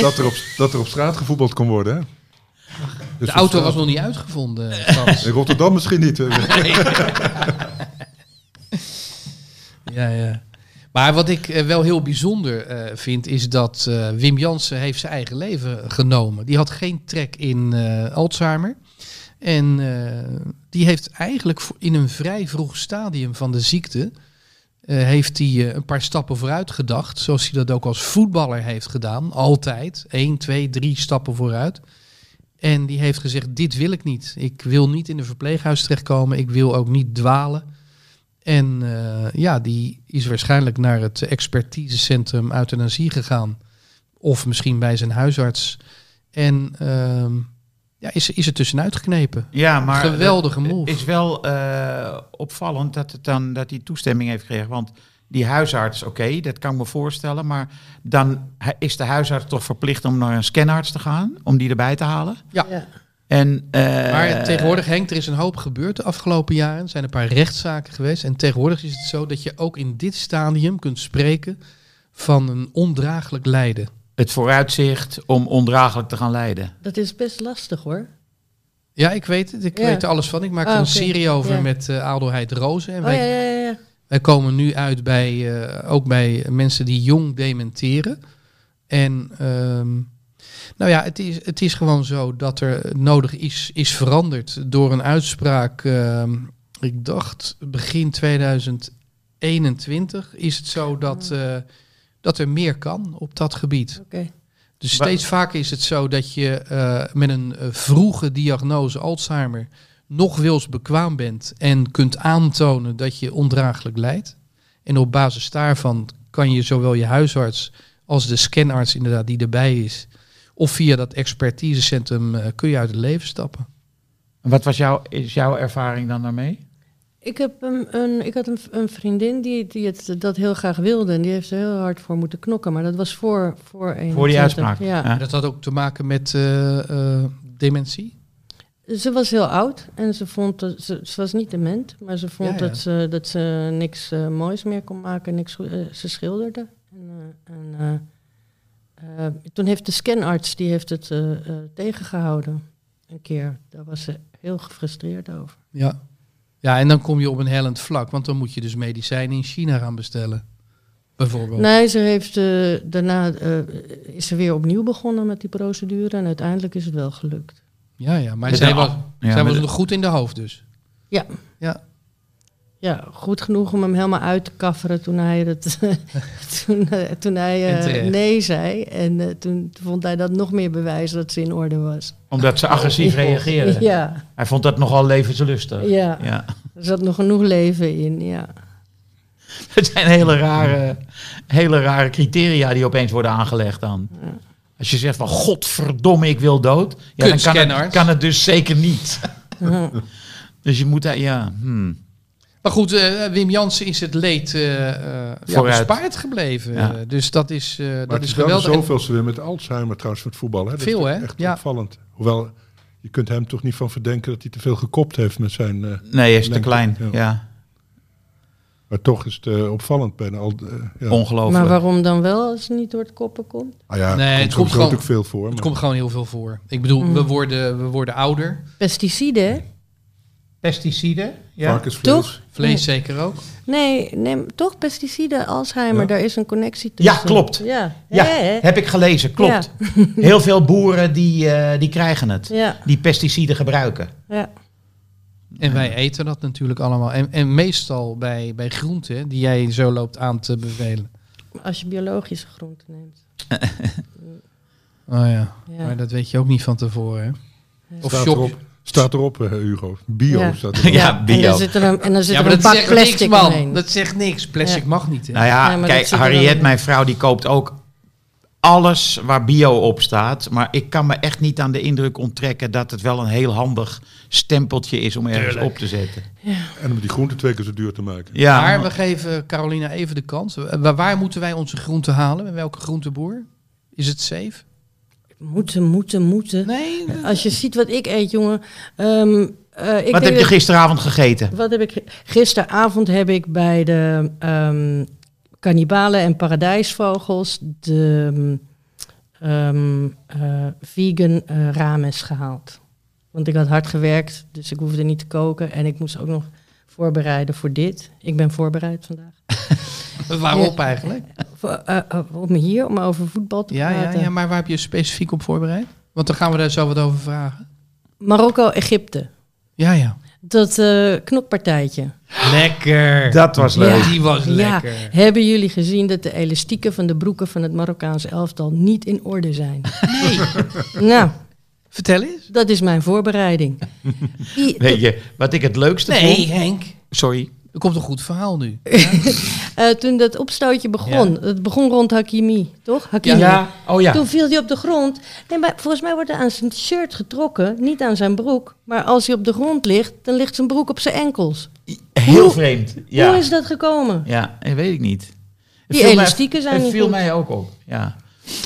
[SPEAKER 2] dat, er op, dat er op straat gevoetbald kon worden. Hè? Dus
[SPEAKER 1] De auto was nog niet uitgevonden. eh, Frans.
[SPEAKER 2] In Rotterdam misschien niet. hè.
[SPEAKER 1] ja, ja. Maar wat ik eh, wel heel bijzonder eh, vind, is dat eh, Wim Jansen heeft zijn eigen leven genomen. Die had geen trek in eh, Alzheimer. En eh, die heeft eigenlijk voor- in een vrij vroeg stadium van de ziekte... eh, heeft hij eh, een paar stappen vooruit gedacht. Zoals hij dat ook als voetballer heeft gedaan. Altijd. Eén, twee, drie stappen vooruit. En die heeft gezegd, dit wil ik niet. Ik wil niet in een verpleeghuis terechtkomen. Ik wil ook niet dwalen. En eh, ja, die is waarschijnlijk naar het expertisecentrum euthanasie gegaan. Of misschien bij zijn huisarts. En ehm, ja, is, is er tussenuit geknepen.
[SPEAKER 3] Ja, maar
[SPEAKER 1] Geweldige
[SPEAKER 3] het-
[SPEAKER 1] move.
[SPEAKER 3] Het is wel eh, opvallend dat, het dan, dat hij toestemming heeft gekregen. Want die huisarts, oké, dat kan ik me voorstellen. Maar dan he- is de huisarts toch verplicht om naar een scanarts te gaan. Om die erbij te halen.
[SPEAKER 1] Ja.
[SPEAKER 5] Ja.
[SPEAKER 3] En, eh,
[SPEAKER 1] Maar tegenwoordig, Henk, er is een hoop gebeurd de afgelopen jaren. Er zijn een paar rechtszaken geweest. En tegenwoordig is het zo dat je ook in dit stadium kunt spreken van een ondraaglijk lijden.
[SPEAKER 3] Het vooruitzicht om ondraaglijk te gaan lijden.
[SPEAKER 5] Dat is best lastig hoor.
[SPEAKER 1] Ja, ik weet het. Ik
[SPEAKER 5] Ja.
[SPEAKER 1] weet er alles van. Ik maak er
[SPEAKER 5] Ah,
[SPEAKER 1] een
[SPEAKER 5] oké.
[SPEAKER 1] serie over
[SPEAKER 5] Ja.
[SPEAKER 1] met eh Adelheid Rozen. En
[SPEAKER 5] Oh ja,
[SPEAKER 1] wij
[SPEAKER 5] ja, ja, ja.
[SPEAKER 1] Wij komen nu uit bij, eh, ook bij mensen die jong dementeren. En ehm, Nou ja, het is, het is gewoon zo dat er nodig is, is veranderd door een uitspraak. eh, ik dacht begin 2021 is het zo dat, eh, dat er meer kan op dat gebied.
[SPEAKER 5] Oké.
[SPEAKER 1] Dus
[SPEAKER 3] Wa-
[SPEAKER 1] steeds vaker is het zo dat je eh, met een eh, vroege diagnose Alzheimer nog wils bekwaam bent en kunt aantonen dat je ondraaglijk lijdt. En op basis daarvan kan je zowel je huisarts als de scanarts inderdaad die erbij is, of via dat expertisecentrum eh, kun je uit het leven stappen.
[SPEAKER 3] Wat was jouw, is jouw ervaring dan daarmee?
[SPEAKER 5] Ik, heb een, een, ik had een, een vriendin die, die het, dat heel graag wilde. En die heeft er heel hard voor moeten knokken. Maar dat was voor, voor een.
[SPEAKER 3] Voor die uitspraak?
[SPEAKER 5] Ja.
[SPEAKER 3] Ja.
[SPEAKER 1] Dat had ook te maken met eh, eh, dementie.
[SPEAKER 5] Ze was heel oud en ze vond dat ze, ze was niet dement, maar ze vond
[SPEAKER 1] Ja, ja.
[SPEAKER 5] Dat, ze, dat ze niks eh, moois meer kon maken, niks, goe- eh, ze schilderde. En, eh, en, eh, eh, toen heeft de scanarts die heeft het eh, eh, tegengehouden een keer. Daar was ze heel gefrustreerd over.
[SPEAKER 1] Ja. ja, en dan kom je op een hellend vlak, want dan moet je dus medicijnen in China gaan bestellen. Bijvoorbeeld.
[SPEAKER 5] Nee, ze heeft eh, daarna eh, is ze weer opnieuw begonnen met die procedure en uiteindelijk is het wel gelukt.
[SPEAKER 1] Ja, ja, maar
[SPEAKER 3] Met
[SPEAKER 1] zij
[SPEAKER 3] een
[SPEAKER 1] was,
[SPEAKER 3] a- ja,
[SPEAKER 1] zij
[SPEAKER 3] met
[SPEAKER 1] was
[SPEAKER 3] een-
[SPEAKER 1] nog goed in de hoofd dus.
[SPEAKER 5] Ja.
[SPEAKER 1] Ja.
[SPEAKER 5] Ja, goed genoeg om hem helemaal uit te kafferen toen hij, dat, [LAUGHS] toen, eh, toen hij eh,
[SPEAKER 1] En terecht.
[SPEAKER 5] nee zei. En eh, toen vond hij dat nog meer bewijs dat ze in orde was.
[SPEAKER 3] Omdat ze agressief reageerde.
[SPEAKER 5] Ja,
[SPEAKER 3] Hij vond dat nogal levenslustig.
[SPEAKER 5] ja,
[SPEAKER 3] Ja.
[SPEAKER 5] er zat nog genoeg leven in. Ja.
[SPEAKER 3] [LAUGHS] Het zijn hele rare, hele rare criteria die opeens worden aangelegd dan. Als je zegt van godverdomme, ik wil dood. Ja, dan kan het,
[SPEAKER 1] Kunstscanners.
[SPEAKER 3] kan het dus zeker niet. dus je moet daar, ja. hmm.
[SPEAKER 1] Maar goed, eh, Wim Jansen is het leed eh, eh, ja,
[SPEAKER 3] Vooruit.
[SPEAKER 1] bespaard gebleven.
[SPEAKER 3] Ja.
[SPEAKER 1] Eh, dus dat is, eh,
[SPEAKER 2] Maar
[SPEAKER 1] dat is
[SPEAKER 2] het is wel
[SPEAKER 1] geweldig. En-
[SPEAKER 2] zoveel ze weer met Alzheimer trouwens met voetbal. Hè? Dat
[SPEAKER 1] Veel,
[SPEAKER 2] is
[SPEAKER 1] hè?
[SPEAKER 2] Echt
[SPEAKER 1] Ja.
[SPEAKER 2] opvallend. Hoewel, je kunt hem toch niet van verdenken dat hij te veel gekopt heeft met zijn... eh,
[SPEAKER 3] Nee, hij is te
[SPEAKER 2] Denk ik,
[SPEAKER 3] klein.
[SPEAKER 2] ja.
[SPEAKER 3] Ja,
[SPEAKER 2] maar toch is het eh, opvallend bijna. Al, eh, ja.
[SPEAKER 5] Maar
[SPEAKER 3] ongelooflijk.
[SPEAKER 5] waarom dan wel als het niet door het koppen komt?
[SPEAKER 2] Ah ja,
[SPEAKER 1] Nee,
[SPEAKER 2] nee,
[SPEAKER 1] het komt
[SPEAKER 2] komt sowieso
[SPEAKER 1] gewoon-
[SPEAKER 2] natuurlijk veel voor.
[SPEAKER 1] Het
[SPEAKER 2] maar-
[SPEAKER 1] komt gewoon heel veel voor. Ik bedoel,
[SPEAKER 5] Mm.
[SPEAKER 1] we, worden, we worden ouder.
[SPEAKER 5] Pesticiden? hè?
[SPEAKER 3] Pesticiden? Ja.
[SPEAKER 2] varkensvlees.
[SPEAKER 5] Toch?
[SPEAKER 1] Vlees
[SPEAKER 5] Nee.
[SPEAKER 1] zeker ook.
[SPEAKER 5] Nee, nee, toch pesticiden, Alzheimer,
[SPEAKER 2] Ja.
[SPEAKER 5] daar is een connectie tussen.
[SPEAKER 3] klopt.
[SPEAKER 5] Ja,
[SPEAKER 3] Ja,
[SPEAKER 5] Hè?
[SPEAKER 3] heb ik gelezen, klopt. Heel veel boeren die, eh, die krijgen het.
[SPEAKER 5] ja,
[SPEAKER 3] Die pesticiden gebruiken.
[SPEAKER 5] ja.
[SPEAKER 1] En wij eten dat natuurlijk allemaal. En, en meestal bij, bij groenten die jij zo loopt aan te bevelen.
[SPEAKER 5] Als je biologische groenten neemt.
[SPEAKER 1] Oh ja,
[SPEAKER 5] Ja.
[SPEAKER 1] maar dat weet je ook niet van tevoren. Hè? Of
[SPEAKER 2] Staat
[SPEAKER 1] shop.
[SPEAKER 2] erop, staat erop eh, Hugo. Bio
[SPEAKER 5] Ja.
[SPEAKER 2] staat erop.
[SPEAKER 3] Ja, bio.
[SPEAKER 5] En dus dan zit er een, en dan zit
[SPEAKER 1] Ja,
[SPEAKER 5] er
[SPEAKER 1] maar
[SPEAKER 5] een
[SPEAKER 1] dat
[SPEAKER 5] pak
[SPEAKER 1] zegt niks,
[SPEAKER 5] plastic
[SPEAKER 1] man.
[SPEAKER 5] omheen.
[SPEAKER 1] Dat zegt niks. Plastic
[SPEAKER 5] Ja.
[SPEAKER 1] mag niet. Hè?
[SPEAKER 3] Nou ja,
[SPEAKER 5] Ja, maar
[SPEAKER 3] kijk,
[SPEAKER 5] dat zit er wel
[SPEAKER 3] Harriet,
[SPEAKER 5] in.
[SPEAKER 3] mijn vrouw, die koopt ook alles waar bio op staat. Maar ik kan me echt niet aan de indruk onttrekken dat het wel een heel handig stempeltje is om ergens op te zetten.
[SPEAKER 2] En om die groente twee keer zo duur te maken.
[SPEAKER 3] Ja,
[SPEAKER 1] maar we geven Carolina even de kans. Eh, Waar, waar moeten wij onze groenten halen? Bij welke groenteboer? Is het safe?
[SPEAKER 5] Moeten, moeten, moeten.
[SPEAKER 1] Nee. dat-
[SPEAKER 5] Als je ziet wat ik eet, jongen. Ehm, eh, ik
[SPEAKER 3] wat
[SPEAKER 5] denk
[SPEAKER 3] heb je
[SPEAKER 5] dat-
[SPEAKER 3] gisteravond gegeten?
[SPEAKER 5] Wat heb ik ge- Gisteravond heb ik bij de ehm kannibalen en paradijsvogels de ehm, eh, vegan eh, rames gehaald. Want ik had hard gewerkt, dus ik hoefde niet te koken. En ik moest ook nog voorbereiden voor dit. Ik ben voorbereid vandaag.
[SPEAKER 1] Waarop eigenlijk?
[SPEAKER 5] Voor, eh, eh, om hier, om over voetbal te
[SPEAKER 1] Ja, ja,
[SPEAKER 5] praten.
[SPEAKER 1] ja, maar waar heb je specifiek op voorbereid? Want dan gaan we daar zo wat over vragen.
[SPEAKER 5] Marokko, Egypte.
[SPEAKER 1] Ja, ja.
[SPEAKER 5] Dat eh, knokpartijtje.
[SPEAKER 1] Lekker.
[SPEAKER 3] Dat was leuk.
[SPEAKER 1] Die was
[SPEAKER 5] Ja,
[SPEAKER 1] lekker.
[SPEAKER 5] hebben jullie gezien dat de elastieken van de broeken van het Marokkaanse elftal niet in orde zijn? Nee. [LAUGHS] Nou,
[SPEAKER 1] Vertel eens.
[SPEAKER 5] dat is mijn voorbereiding. I-
[SPEAKER 3] Weet je, wat ik het leukste vond...
[SPEAKER 1] Henk.
[SPEAKER 3] Sorry.
[SPEAKER 1] Er komt een goed verhaal [LAUGHS] nu.
[SPEAKER 5] eh, toen dat opstootje begon, het begon rond Hakimi, toch? Hakimi.
[SPEAKER 3] Ja, oh ja.
[SPEAKER 5] Toen viel hij op de grond. Nee, maar volgens mij wordt er aan zijn shirt getrokken, niet aan zijn broek. Maar als hij op de grond ligt, dan ligt zijn broek op zijn enkels.
[SPEAKER 3] Heel
[SPEAKER 5] Hoe-
[SPEAKER 3] vreemd.
[SPEAKER 5] Hoe
[SPEAKER 3] Ja,
[SPEAKER 5] is dat gekomen?
[SPEAKER 3] ja dat weet ik niet. Het
[SPEAKER 5] Die
[SPEAKER 3] viel mij-
[SPEAKER 5] elastieken zijn
[SPEAKER 3] Het
[SPEAKER 5] niet
[SPEAKER 3] viel
[SPEAKER 5] goed.
[SPEAKER 3] mij ook op, ja.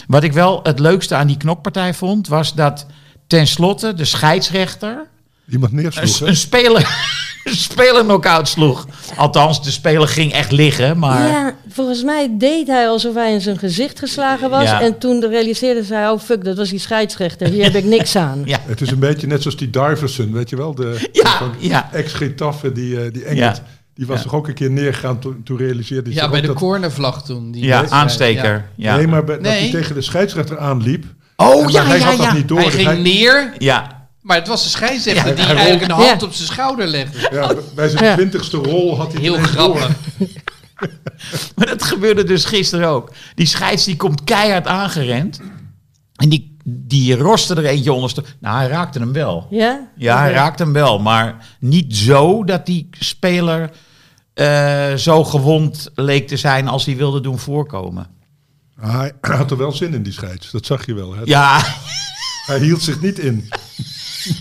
[SPEAKER 3] Wat ik wel het leukste aan die knokpartij vond... was dat tenslotte de scheidsrechter...
[SPEAKER 2] Iemand
[SPEAKER 3] Een,
[SPEAKER 2] neersloeg, hè?
[SPEAKER 3] een speler, [LAUGHS] een speler knock-out sloeg. Althans, de speler ging echt liggen, maar...
[SPEAKER 5] Ja, volgens mij deed hij alsof hij in zijn gezicht geslagen was.
[SPEAKER 3] Ja.
[SPEAKER 5] En toen realiseerde zij, oh fuck, dat was die scheidsrechter. Hier heb ik
[SPEAKER 3] [LAUGHS]
[SPEAKER 5] niks aan.
[SPEAKER 3] Ja.
[SPEAKER 2] Het is een beetje net zoals die Diverson, weet je wel? De
[SPEAKER 3] Ja, ja.
[SPEAKER 2] ex-Getafe, die, eh, die Engels.
[SPEAKER 3] Ja.
[SPEAKER 2] Die was
[SPEAKER 3] Ja.
[SPEAKER 2] toch ook een keer neergegaan toen, toen realiseerde hij
[SPEAKER 1] Ja,
[SPEAKER 2] zich
[SPEAKER 1] bij
[SPEAKER 2] ook
[SPEAKER 1] de
[SPEAKER 2] dat...
[SPEAKER 1] cornervlag toen. Die
[SPEAKER 3] Ja,
[SPEAKER 1] wedstrijd.
[SPEAKER 3] aansteker. Ja.
[SPEAKER 2] Nee, maar bij- dat
[SPEAKER 1] Nee.
[SPEAKER 2] hij tegen de scheidsrechter aanliep.
[SPEAKER 3] Oh
[SPEAKER 2] maar
[SPEAKER 3] ja,
[SPEAKER 2] hij
[SPEAKER 3] ja,
[SPEAKER 2] had dat
[SPEAKER 3] ja.
[SPEAKER 2] niet door.
[SPEAKER 1] Hij
[SPEAKER 2] dus
[SPEAKER 1] ging
[SPEAKER 2] hij-
[SPEAKER 1] neer,
[SPEAKER 3] Ja, [LAUGHS]
[SPEAKER 1] maar het was de scheidsrechter
[SPEAKER 3] Ja,
[SPEAKER 1] die
[SPEAKER 2] hij
[SPEAKER 1] eigenlijk een
[SPEAKER 5] rolt.
[SPEAKER 1] hand
[SPEAKER 5] Ja.
[SPEAKER 1] op zijn schouder legde.
[SPEAKER 2] ja, bij zijn
[SPEAKER 5] Ja.
[SPEAKER 2] twintigste rol had hij
[SPEAKER 1] Heel
[SPEAKER 2] het ineens door.
[SPEAKER 1] grappig.
[SPEAKER 3] maar dat gebeurde dus gisteren ook. Die scheids die komt keihard aangerend. En die, die roste er eentje onderste. Nou, hij raakte hem wel.
[SPEAKER 5] Ja?
[SPEAKER 3] Ja, hij
[SPEAKER 5] Oké.
[SPEAKER 3] raakt hem wel, maar niet zo dat die speler eh, zo gewond leek te zijn als hij wilde doen voorkomen.
[SPEAKER 2] Hij had er wel zin in, die scheids. Dat zag je wel. Hè?
[SPEAKER 3] Ja,
[SPEAKER 2] Hij hield zich niet in.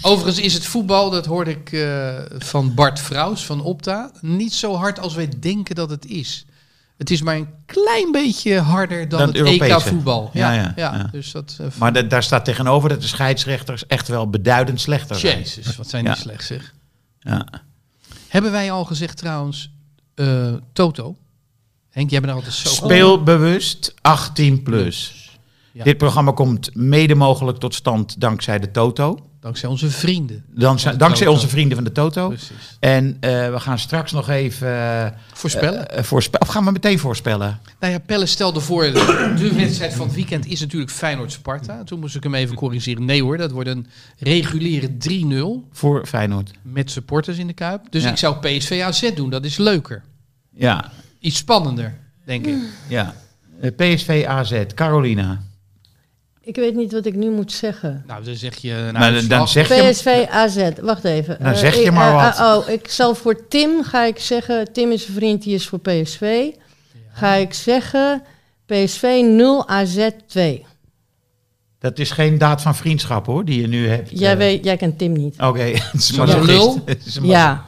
[SPEAKER 1] Overigens is het voetbal, dat hoorde ik eh, van Bart Vrouws van Opta, niet zo hard als wij denken dat het is. Het is maar een klein beetje harder dan,
[SPEAKER 3] Dan
[SPEAKER 1] het
[SPEAKER 3] het Europese.
[SPEAKER 1] EK-voetbal. Ja,
[SPEAKER 3] Ja,
[SPEAKER 1] ja,
[SPEAKER 3] ja, ja.
[SPEAKER 1] Dus dat, eh,
[SPEAKER 3] maar da- daar staat tegenover dat de scheidsrechters echt wel beduidend slechter zijn.
[SPEAKER 1] Jezus, wat zijn
[SPEAKER 3] Ja.
[SPEAKER 1] die slecht zeg.
[SPEAKER 3] Ja.
[SPEAKER 1] Hebben wij al gezegd trouwens, eh, Toto? Henk, jij bent er altijd zo goed in.
[SPEAKER 3] Speelbewust 18 plus.
[SPEAKER 1] Ja.
[SPEAKER 3] Dit programma komt mede mogelijk tot stand dankzij de Toto.
[SPEAKER 1] Dankzij onze vrienden.
[SPEAKER 3] Dankzij,
[SPEAKER 1] de
[SPEAKER 3] dankzij
[SPEAKER 1] Toto.
[SPEAKER 3] onze vrienden van de Toto.
[SPEAKER 1] Precies.
[SPEAKER 3] En eh, we gaan straks nog even eh,
[SPEAKER 1] Voorspellen.
[SPEAKER 3] eh, voorspellen. Of gaan we meteen voorspellen?
[SPEAKER 1] Nou ja, Pelle stelde voor, [CLEARS THROAT] de wedstrijd van het weekend is natuurlijk Feyenoord-Sparta. Toen moest ik hem even corrigeren. Nee hoor, dat wordt een reguliere 3-0
[SPEAKER 3] Voor Feyenoord.
[SPEAKER 1] met supporters in de Kuip. Dus
[SPEAKER 3] Ja.
[SPEAKER 1] ik zou PSV AZ doen, dat is leuker.
[SPEAKER 3] Ja,
[SPEAKER 1] Iets spannender, denk ik.
[SPEAKER 3] ja. Eh, PSV AZ, Carolina.
[SPEAKER 5] Ik weet niet wat ik nu moet zeggen.
[SPEAKER 1] Nou, dan zeg je een
[SPEAKER 3] Maar dan, dan
[SPEAKER 1] uitslag.
[SPEAKER 3] zeg je...
[SPEAKER 5] PSV AZ, wacht even.
[SPEAKER 3] Nou,
[SPEAKER 5] Eh,
[SPEAKER 3] zeg je
[SPEAKER 5] ik-
[SPEAKER 3] maar
[SPEAKER 5] eh,
[SPEAKER 3] wat.
[SPEAKER 5] oh, ik zal voor Tim ga ik zeggen, Tim is een vriend die is voor PSV. Ga ik zeggen PSV 0 AZ 2.
[SPEAKER 3] Dat is geen daad van vriendschap hoor, die je nu hebt.
[SPEAKER 5] Jij,
[SPEAKER 3] Eh,
[SPEAKER 5] weet, jij kent Tim niet.
[SPEAKER 3] Oké, [LAUGHS] het is
[SPEAKER 1] Zo'n
[SPEAKER 3] masochist.
[SPEAKER 1] lul?
[SPEAKER 3] Het [LAUGHS] is een
[SPEAKER 5] Ja.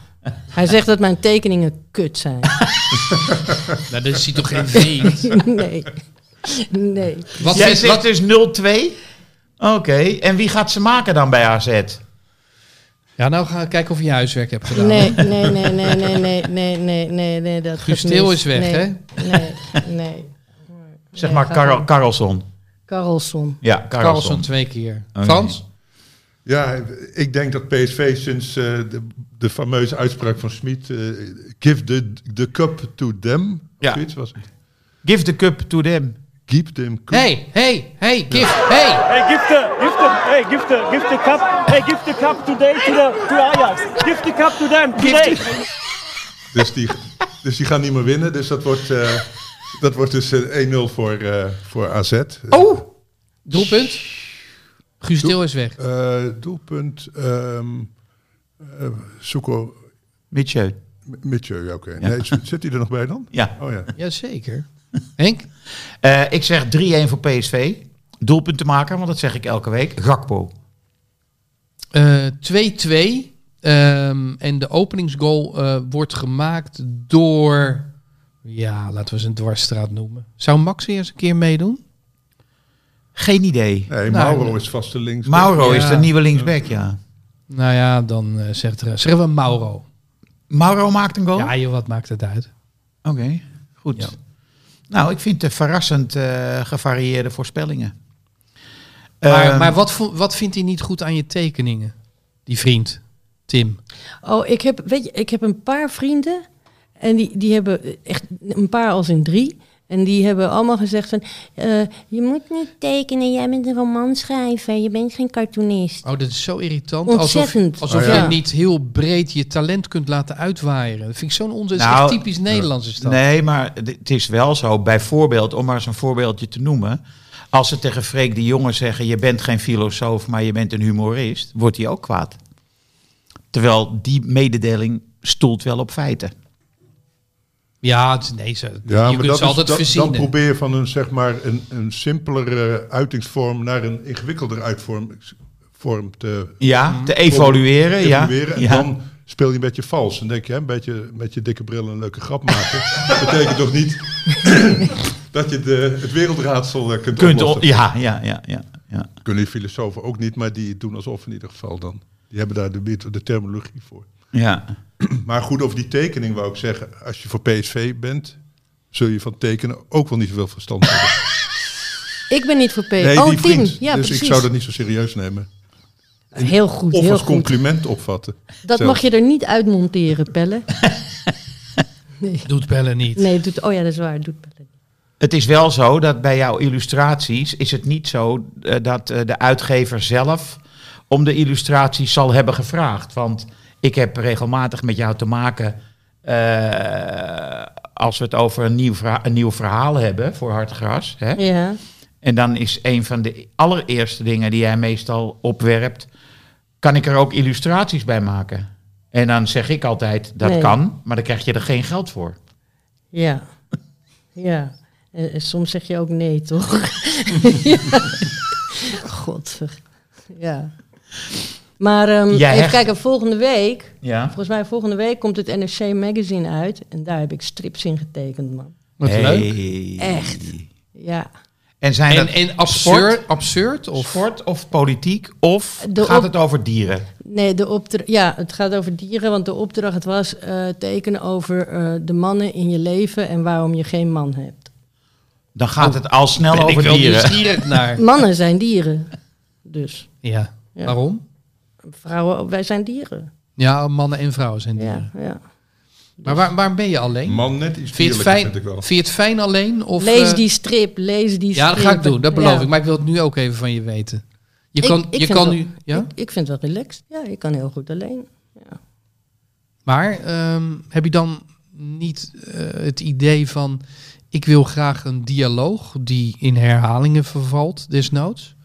[SPEAKER 5] Hij zegt dat mijn tekeningen kut zijn. [LAUGHS]
[SPEAKER 1] Nou, dat ziet toch geen
[SPEAKER 3] [LAUGHS]
[SPEAKER 1] veen.
[SPEAKER 5] Nee. Nee.
[SPEAKER 1] Wat,
[SPEAKER 3] Jij
[SPEAKER 1] vindt-
[SPEAKER 3] zegt
[SPEAKER 1] wat-
[SPEAKER 3] dus 0-2? Oké, en wie gaat ze maken dan bij AZ?
[SPEAKER 1] Ja, nou gaan we kijken of je huiswerk hebt gedaan.
[SPEAKER 5] Nee, nee, nee, nee, nee, nee, nee, nee, nee, nee. Dat
[SPEAKER 1] Guus
[SPEAKER 5] gaat
[SPEAKER 1] Til
[SPEAKER 5] mis.
[SPEAKER 1] is weg,
[SPEAKER 5] nee,
[SPEAKER 1] hè?
[SPEAKER 5] Nee, nee.
[SPEAKER 3] Zeg
[SPEAKER 5] Nee,
[SPEAKER 3] maar
[SPEAKER 5] ga
[SPEAKER 3] Karel,
[SPEAKER 5] door.
[SPEAKER 3] Karelsson.
[SPEAKER 5] Karlsson.
[SPEAKER 3] Ja, Karelsson.
[SPEAKER 1] Carlson twee keer.
[SPEAKER 3] Oké.
[SPEAKER 1] Frans?
[SPEAKER 2] Ja, ik denk dat PSV sinds eh, de, de fameuze uitspraak van Smit... eh, give the, the cup to them.
[SPEAKER 3] Ja.
[SPEAKER 2] Zoiets was het.
[SPEAKER 3] Give the cup to them.
[SPEAKER 2] Keep them cup.
[SPEAKER 1] Hey, hey, hey, gift, hey.
[SPEAKER 8] Hey, give the, give the, hey, give the, give the cup, hey, give the cup today to the, to Ajax. Give the cup to them today.
[SPEAKER 2] [LAUGHS] Dus, die, dus die gaan niet meer winnen. Dus dat wordt, eh, dat wordt dus eh, 1-0 voor, eh, voor AZ.
[SPEAKER 1] Oh! Doelpunt. Guus Til is weg.
[SPEAKER 2] Eh, doelpunt... ehm eh, Soeko
[SPEAKER 3] Mitchell.
[SPEAKER 2] Mitchell, ja, oké. Nee, zit zit hij er nog bij dan?
[SPEAKER 3] Ja.
[SPEAKER 2] Oh ja.
[SPEAKER 3] [LAUGHS]
[SPEAKER 1] Jazeker. Henk?
[SPEAKER 3] Eh, ik zeg 3-1 voor PSV. Doelpunt te maken, want dat zeg ik elke week. Gakpo.
[SPEAKER 1] Eh, 2-2. Ehm, en de openingsgoal eh, wordt gemaakt door... Ja, laten we ze een dwarsstraat noemen. Zou Max weer eens een keer meedoen?
[SPEAKER 3] Geen idee.
[SPEAKER 2] Nee,
[SPEAKER 1] Nou,
[SPEAKER 2] Mauro is vaste links.
[SPEAKER 3] Mauro is
[SPEAKER 1] Ja.
[SPEAKER 3] de nieuwe linksback, ja.
[SPEAKER 1] Nou ja, dan eh, zegt er, zeggen we Mauro.
[SPEAKER 3] Mauro maakt een goal?
[SPEAKER 1] Ja, joh, wat maakt het uit?
[SPEAKER 3] Oké, goed.
[SPEAKER 1] Ja.
[SPEAKER 3] Nou, ik vind het verrassend eh, gevarieerde voorspellingen.
[SPEAKER 1] Maar,
[SPEAKER 3] Ehm,
[SPEAKER 1] maar wat, vo- wat vindt hij niet goed aan je tekeningen? Die vriend, Tim.
[SPEAKER 5] Oh, ik heb, weet je, ik heb een paar vrienden. En die, die hebben echt een paar als in drie. En die hebben allemaal gezegd van... eh, je moet niet tekenen, jij bent een romanschrijver. Je bent geen cartoonist.
[SPEAKER 1] Oh, dat is zo irritant.
[SPEAKER 5] Ontzettend.
[SPEAKER 1] Alsof, alsof
[SPEAKER 2] Oh, ja.
[SPEAKER 1] je niet heel breed je talent kunt laten uitwaaieren. Dat vind ik zo'n onzin. Dat is
[SPEAKER 3] Nou,
[SPEAKER 1] echt typisch Nederlands is dat.
[SPEAKER 3] Nee, maar d- het is wel zo. Bijvoorbeeld, om maar eens een voorbeeldje te noemen. Als ze tegen Freek de Jonge zeggen: Je bent geen filosoof, maar je bent een humorist. wordt hij ook kwaad. Terwijl die mededeling stoelt wel op feiten.
[SPEAKER 1] Ja, het, nee, ze,
[SPEAKER 2] Ja,
[SPEAKER 1] je kunt
[SPEAKER 2] maar dat
[SPEAKER 1] ze
[SPEAKER 2] is,
[SPEAKER 1] altijd
[SPEAKER 2] dat-
[SPEAKER 1] verzinnen.
[SPEAKER 2] dan probeer je van een, zeg maar, een, een simpelere uitingsvorm naar een ingewikkelder uitvorm vorm te
[SPEAKER 3] Ja, te evalueren. Ja,
[SPEAKER 2] evolueren. En
[SPEAKER 3] ja.
[SPEAKER 2] dan speel je een beetje vals. En denk je, hè, een beetje met je dikke bril een leuke grap maken. [LAUGHS] Dat betekent toch niet [COUGHS] dat je de, het wereldraadsel eh, kunt,
[SPEAKER 3] Kunt on-
[SPEAKER 2] oplossen.
[SPEAKER 3] ja, ja, ja, ja, ja.
[SPEAKER 2] Kunnen die filosofen ook niet, maar die doen alsof in ieder geval dan. Die hebben daar de, met- de terminologie voor. [CLEARS THROAT]
[SPEAKER 3] ja.
[SPEAKER 2] Maar goed, over die tekening wou ik zeggen, als je voor PSV bent, zul je van tekenen ook wel niet zoveel verstand hebben.
[SPEAKER 5] Ik ben niet voor PSV.
[SPEAKER 2] Nee,
[SPEAKER 5] oh,
[SPEAKER 2] die
[SPEAKER 5] Tim.
[SPEAKER 2] vriend.
[SPEAKER 5] Ja,
[SPEAKER 2] dus
[SPEAKER 5] precies.
[SPEAKER 2] ik zou dat niet zo serieus nemen.
[SPEAKER 5] Heel goed,
[SPEAKER 2] Of
[SPEAKER 5] heel
[SPEAKER 2] als
[SPEAKER 5] goed.
[SPEAKER 2] compliment opvatten.
[SPEAKER 5] Dat
[SPEAKER 2] Zelf.
[SPEAKER 5] mag je er niet
[SPEAKER 2] [LAUGHS]
[SPEAKER 5] uitmonteren, Pelle.
[SPEAKER 1] Doet bellen niet.
[SPEAKER 5] Nee, doet, oh ja, dat is waar. Doet Pelle. niet.
[SPEAKER 3] Het is wel zo dat bij jouw illustraties is het niet zo eh, dat eh, de uitgever zelf om de illustraties zal hebben gevraagd. Want ik heb regelmatig met jou te maken eh, als we het over een nieuw, verha- een nieuw verhaal hebben voor Hartgras. Hè?
[SPEAKER 5] Ja.
[SPEAKER 3] En dan is een van de allereerste dingen die jij meestal opwerpt, kan ik er ook illustraties bij maken? En dan zeg ik altijd, dat
[SPEAKER 5] Nee.
[SPEAKER 3] kan, maar dan krijg je er geen geld voor.
[SPEAKER 5] Ja. Ja. En, en soms zeg je ook
[SPEAKER 3] [LAUGHS]
[SPEAKER 5] nee, toch? ja. God. Ja. Maar ehm
[SPEAKER 3] Jij
[SPEAKER 5] even
[SPEAKER 3] hecht-
[SPEAKER 5] kijken, volgende week...
[SPEAKER 3] Ja.
[SPEAKER 5] Volgens mij volgende week komt het NRC Magazine uit. En daar heb ik strips in getekend, man.
[SPEAKER 1] Wat leuk.
[SPEAKER 5] Echt. Ja.
[SPEAKER 3] En zijn
[SPEAKER 1] En,
[SPEAKER 3] dat
[SPEAKER 1] en
[SPEAKER 3] sport,
[SPEAKER 1] absurd, absurd
[SPEAKER 3] of
[SPEAKER 1] of
[SPEAKER 3] sport of politiek of
[SPEAKER 5] De
[SPEAKER 3] gaat
[SPEAKER 5] op-
[SPEAKER 3] het over dieren?
[SPEAKER 5] Nee, de opdra- ja, het gaat over dieren, want de opdracht was eh, tekenen over eh, de mannen in je leven en waarom je geen man hebt.
[SPEAKER 3] Dan gaat het al snel
[SPEAKER 1] ben ik
[SPEAKER 3] over
[SPEAKER 1] wel
[SPEAKER 3] dieren.
[SPEAKER 1] nieuwsgierig
[SPEAKER 3] [LAUGHS]
[SPEAKER 1] naar.
[SPEAKER 5] Mannen zijn dieren, dus.
[SPEAKER 1] Ja.
[SPEAKER 5] Ja.
[SPEAKER 1] Waarom?
[SPEAKER 5] Vrouwen, wij zijn dieren.
[SPEAKER 1] Ja, mannen en vrouwen zijn dieren.
[SPEAKER 5] Ja, ja.
[SPEAKER 1] Maar waar, waarom ben je alleen?
[SPEAKER 2] Man, net iets
[SPEAKER 1] Vind je, het
[SPEAKER 2] dierlijker
[SPEAKER 1] fijn,
[SPEAKER 2] vind ik wel.
[SPEAKER 1] vind je het fijn alleen? Of,
[SPEAKER 5] lees
[SPEAKER 1] eh,
[SPEAKER 5] die strip, lees die strip.
[SPEAKER 1] Ja, dat ga ik doen, dat beloof
[SPEAKER 5] Ja.
[SPEAKER 1] ik. Maar ik wil het nu ook even van je weten. Je
[SPEAKER 5] Ik-
[SPEAKER 1] kan,
[SPEAKER 5] ik
[SPEAKER 1] je
[SPEAKER 5] vind
[SPEAKER 1] kan
[SPEAKER 5] wel-
[SPEAKER 1] nu. Ja?
[SPEAKER 5] Ik, ik vind het wel relaxed. Ja, ik kan heel goed alleen.
[SPEAKER 1] Maar ehm, heb je dan niet eh, het idee van. Ik wil graag een dialoog die in herhalingen vervalt, desnoods?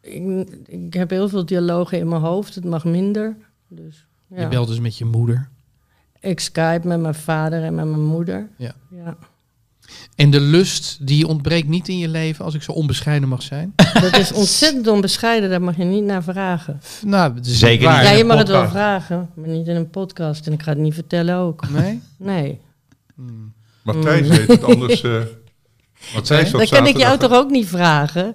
[SPEAKER 5] Ik, ik heb heel veel dialogen in mijn hoofd, het mag minder. Dus,
[SPEAKER 1] Je
[SPEAKER 5] ja.
[SPEAKER 1] belt dus met je moeder.
[SPEAKER 5] Ik Skype met mijn vader en met mijn moeder.
[SPEAKER 1] Ja.
[SPEAKER 5] ja.
[SPEAKER 1] En de lust die ontbreekt niet in je leven, als ik zo onbescheiden mag zijn.
[SPEAKER 5] Dat is ontzettend onbescheiden, daar mag je niet naar vragen.
[SPEAKER 1] [LAUGHS] nou, dat is
[SPEAKER 3] Zeker niet.
[SPEAKER 1] waar.
[SPEAKER 5] Ja,
[SPEAKER 3] in
[SPEAKER 5] je
[SPEAKER 3] een
[SPEAKER 5] mag het wel
[SPEAKER 3] podcast.
[SPEAKER 5] vragen, maar niet in een podcast. En ik ga het niet vertellen ook.
[SPEAKER 1] Nee?
[SPEAKER 5] Nee.
[SPEAKER 2] Maar Thijs weet het anders.
[SPEAKER 5] [LAUGHS]
[SPEAKER 2] eh Matthijs had
[SPEAKER 5] Mm. Dan kan ik jou
[SPEAKER 2] zaterdag-
[SPEAKER 5] toch ook niet vragen?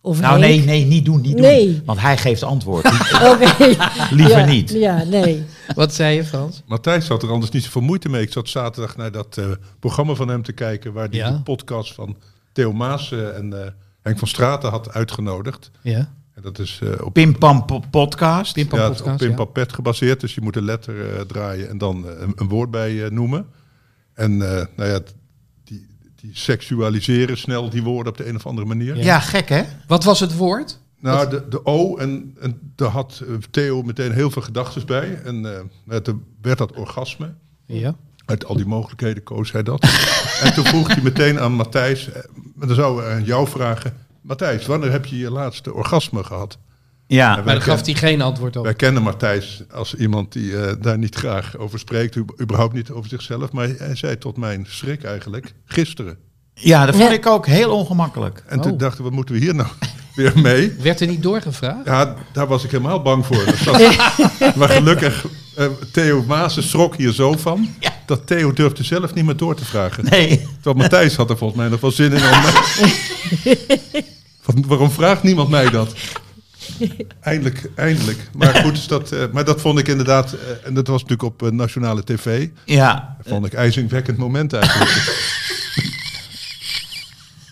[SPEAKER 5] Of
[SPEAKER 3] Nou nee,
[SPEAKER 5] Henk?
[SPEAKER 3] nee, niet doen, niet
[SPEAKER 5] Nee.
[SPEAKER 3] doen. Want hij geeft antwoord.
[SPEAKER 5] [LAUGHS] Oké.
[SPEAKER 3] Liever
[SPEAKER 5] Ja,
[SPEAKER 3] niet.
[SPEAKER 5] Ja, nee.
[SPEAKER 1] Wat zei je, Frans?
[SPEAKER 2] Matthijs had er anders niet zoveel moeite mee. Ik zat zaterdag naar dat eh, programma van hem te kijken... waar hij
[SPEAKER 1] Ja.
[SPEAKER 2] de podcast van Theo Maas eh, en eh, Henk van Straten had uitgenodigd.
[SPEAKER 1] Ja.
[SPEAKER 2] En dat is eh, op,
[SPEAKER 3] [LAUGHS] Pim Pam po- podcast.
[SPEAKER 1] Pimpa
[SPEAKER 2] ja, het is op
[SPEAKER 1] podcast. ja.
[SPEAKER 2] Pimpapet gebaseerd. Dus je moet een letter eh, draaien en dan eh, een, een woord bij eh, noemen. En eh, nou ja, t- die, die seksualiseren snel die woorden op de een of andere manier.
[SPEAKER 3] Ja. gek hè?
[SPEAKER 1] Wat was het woord?
[SPEAKER 2] Nou, de, de O, en, en daar had eh, Theo meteen heel veel gedachten bij. En eh, het werd dat orgasme.
[SPEAKER 1] Ja.
[SPEAKER 2] Uit al die mogelijkheden koos hij dat. en toen vroeg hij meteen aan Matthijs, eh, maar dan zou hij aan jou vragen... Matthijs, wanneer heb je je laatste orgasme gehad?
[SPEAKER 3] Ja.
[SPEAKER 1] Maar
[SPEAKER 2] Wij
[SPEAKER 1] daar gaf
[SPEAKER 2] ken-
[SPEAKER 1] hij geen antwoord op.
[SPEAKER 2] Wij kennen Matthijs als iemand die eh, daar niet graag over spreekt, ub- überhaupt niet over zichzelf. Maar hij zei tot mijn schrik eigenlijk, gisteren.
[SPEAKER 3] ja, dat vond ik ook heel ongemakkelijk.
[SPEAKER 2] En
[SPEAKER 1] Oh.
[SPEAKER 2] toen dachten we, wat moeten we hier nou [LAUGHS] weer mee?
[SPEAKER 1] Werd er niet doorgevraagd?
[SPEAKER 2] Ja, daar was ik helemaal bang voor. Dat zat- maar gelukkig, eh, Theo Maassen schrok hier zo van... dat Theo durfde zelf niet meer door te vragen.
[SPEAKER 3] Nee.
[SPEAKER 2] Terwijl Matthijs had er volgens mij nog wel zin in. Om Van, waarom vraagt niemand mij dat? Eindelijk, eindelijk. Maar
[SPEAKER 1] [LAUGHS]
[SPEAKER 2] goed, dus dat, eh, maar dat vond ik inderdaad... eh, en dat was natuurlijk op eh, nationale tv...
[SPEAKER 3] Ja.
[SPEAKER 2] vond ik ijzingwekkend moment eigenlijk.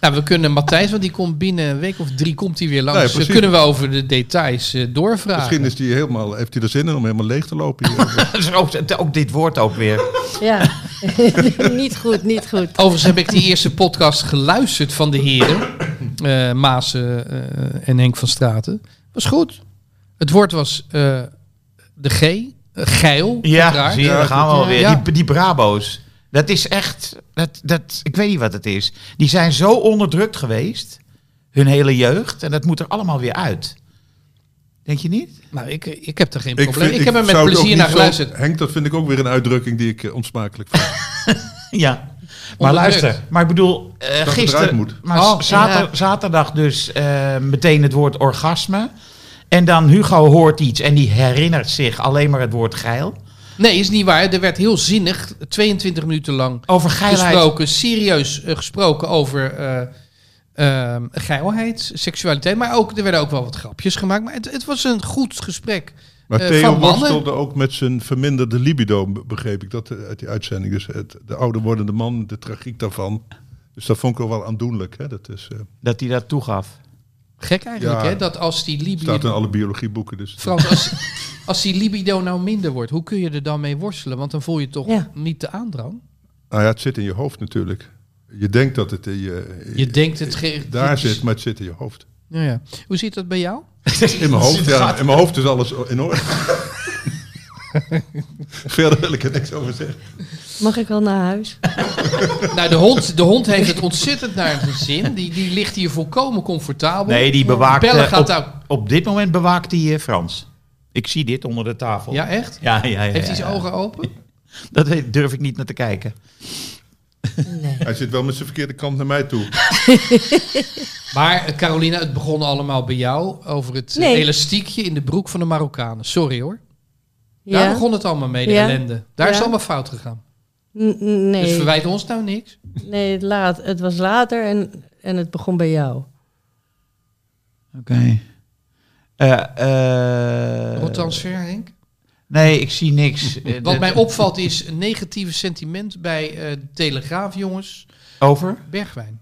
[SPEAKER 1] Nou, we kunnen Matthijs, want die komt binnen een week of drie komt hij weer langs.
[SPEAKER 2] Nee,
[SPEAKER 1] Dan
[SPEAKER 2] precies.
[SPEAKER 1] kunnen we over de details eh, doorvragen.
[SPEAKER 2] Misschien is die helemaal, heeft hij er zin in om helemaal leeg te
[SPEAKER 1] [LAUGHS]
[SPEAKER 2] lopen. Hier.
[SPEAKER 3] [LAUGHS] Zo zit ook dit woord ook weer.
[SPEAKER 5] Ja. niet goed, niet goed.
[SPEAKER 1] Overigens heb ik die eerste podcast geluisterd van de heren. eh Maasen eh, en Henk van Straten. Was goed. Het woord was eh, de G. eh, geil.
[SPEAKER 3] Ja,
[SPEAKER 1] uiteraard.
[SPEAKER 3] zie je, daar gaan we
[SPEAKER 5] Ja.
[SPEAKER 3] alweer.
[SPEAKER 1] Ja.
[SPEAKER 3] Die, die Brabo's, dat is echt, dat, dat, ik weet niet wat het is. Die zijn zo onderdrukt geweest, hun hele jeugd, en dat moet er allemaal weer uit. Denk je niet? [LAUGHS]
[SPEAKER 1] Nou, ik, ik heb er geen
[SPEAKER 2] Ik,
[SPEAKER 1] probleem.
[SPEAKER 2] vind-
[SPEAKER 1] ik heb er met
[SPEAKER 2] zou het ook
[SPEAKER 1] plezier
[SPEAKER 2] niet
[SPEAKER 1] naar
[SPEAKER 2] zo-
[SPEAKER 1] geluisterd.
[SPEAKER 2] Henk, dat vind ik ook weer een uitdrukking die ik eh, onsmakelijk vind.
[SPEAKER 3] Ja. Maar
[SPEAKER 1] Onderdrukt.
[SPEAKER 3] luister, maar ik bedoel, eh,
[SPEAKER 2] het eruit
[SPEAKER 3] gisteren,
[SPEAKER 2] moet.
[SPEAKER 3] maar
[SPEAKER 1] Oh,
[SPEAKER 3] z- zater-
[SPEAKER 1] ja.
[SPEAKER 3] zaterdag dus eh, meteen het woord orgasme. En dan Hugo hoort iets en die herinnert zich alleen maar het woord geil.
[SPEAKER 1] Nee, is niet waar. Er werd heel zinnig, 22 minuten lang
[SPEAKER 3] Over geilheid
[SPEAKER 1] gesproken, serieus eh, gesproken over eh, ehm, geilheid, seksualiteit. Maar ook, er werden ook wel wat grapjes gemaakt. Maar het, het was een goed gesprek.
[SPEAKER 2] Maar
[SPEAKER 1] Eh,
[SPEAKER 2] Theo
[SPEAKER 1] van mannen?
[SPEAKER 2] worstelde ook met zijn verminderde libido, be- begreep ik dat eh, uit die uitzending. Dus het, de ouder wordende man, de tragiek daarvan. Dus dat vond ik wel wel aandoenlijk. Hè? Dat is, eh,
[SPEAKER 3] dat hij dat toegaf.
[SPEAKER 1] Gek eigenlijk,
[SPEAKER 2] Ja.
[SPEAKER 1] hè? Dat als die
[SPEAKER 2] staat in
[SPEAKER 1] libido...
[SPEAKER 2] alle biologieboeken. Dus
[SPEAKER 1] Frans, als, als die libido nou minder wordt, hoe kun je er dan mee worstelen? Want dan voel je toch
[SPEAKER 5] Ja.
[SPEAKER 1] niet de aandrang?
[SPEAKER 2] Nou ja, het zit in je hoofd natuurlijk. Je denkt dat het in je,
[SPEAKER 1] Je denkt het ge-
[SPEAKER 2] Eh, daar
[SPEAKER 1] het-
[SPEAKER 2] zit, maar het zit in je hoofd.
[SPEAKER 1] Ja, ja. Hoe zit dat bij jou?
[SPEAKER 3] [LAUGHS]
[SPEAKER 2] In mijn hoofd, ja, in mijn hoofd is alles in orde. [LAUGHS] Verder wil ik er niks over zeggen.
[SPEAKER 5] Mag ik al naar huis?
[SPEAKER 1] Nou, de hond, de hond heeft het ontzettend naar zijn zin. Die, die ligt hier volkomen comfortabel.
[SPEAKER 3] Nee, die bewaakt...
[SPEAKER 1] Oh, Bellen
[SPEAKER 3] eh,
[SPEAKER 1] gaat
[SPEAKER 3] op,
[SPEAKER 1] daar-
[SPEAKER 3] op dit moment bewaakt hij eh, Frans. Ik zie dit onder de tafel.
[SPEAKER 1] Ja, echt?
[SPEAKER 3] Ja, ja, ja.
[SPEAKER 1] Heeft hij
[SPEAKER 3] ja,
[SPEAKER 1] zijn
[SPEAKER 3] ja.
[SPEAKER 1] ogen open?
[SPEAKER 3] Dat weet- durf ik niet naar te kijken.
[SPEAKER 5] Nee.
[SPEAKER 2] Hij zit wel met zijn verkeerde kant naar mij toe.
[SPEAKER 1] Maar eh, Carolina, het begon allemaal bij jou over het eh,
[SPEAKER 5] Nee.
[SPEAKER 1] elastiekje in de broek van de Marokkanen. Sorry hoor. Daar
[SPEAKER 5] Ja?
[SPEAKER 1] begon het allemaal mee, de
[SPEAKER 5] Ja.
[SPEAKER 1] ellende. Daar is
[SPEAKER 5] Ja.
[SPEAKER 1] het allemaal fout gegaan.
[SPEAKER 5] N- n- Nee.
[SPEAKER 1] Dus verwijt ons nou niks.
[SPEAKER 5] Nee, het, laat, het was later en, en het begon bij jou.
[SPEAKER 3] Oké. Eh, eh,
[SPEAKER 1] Wat transfer, Henk?
[SPEAKER 3] nee, ik zie niks. Eh,
[SPEAKER 1] Wat
[SPEAKER 3] dat-
[SPEAKER 1] mij opvalt is een negatieve sentiment bij eh, de Telegraaf, jongens.
[SPEAKER 3] Over?
[SPEAKER 1] Bergwijn.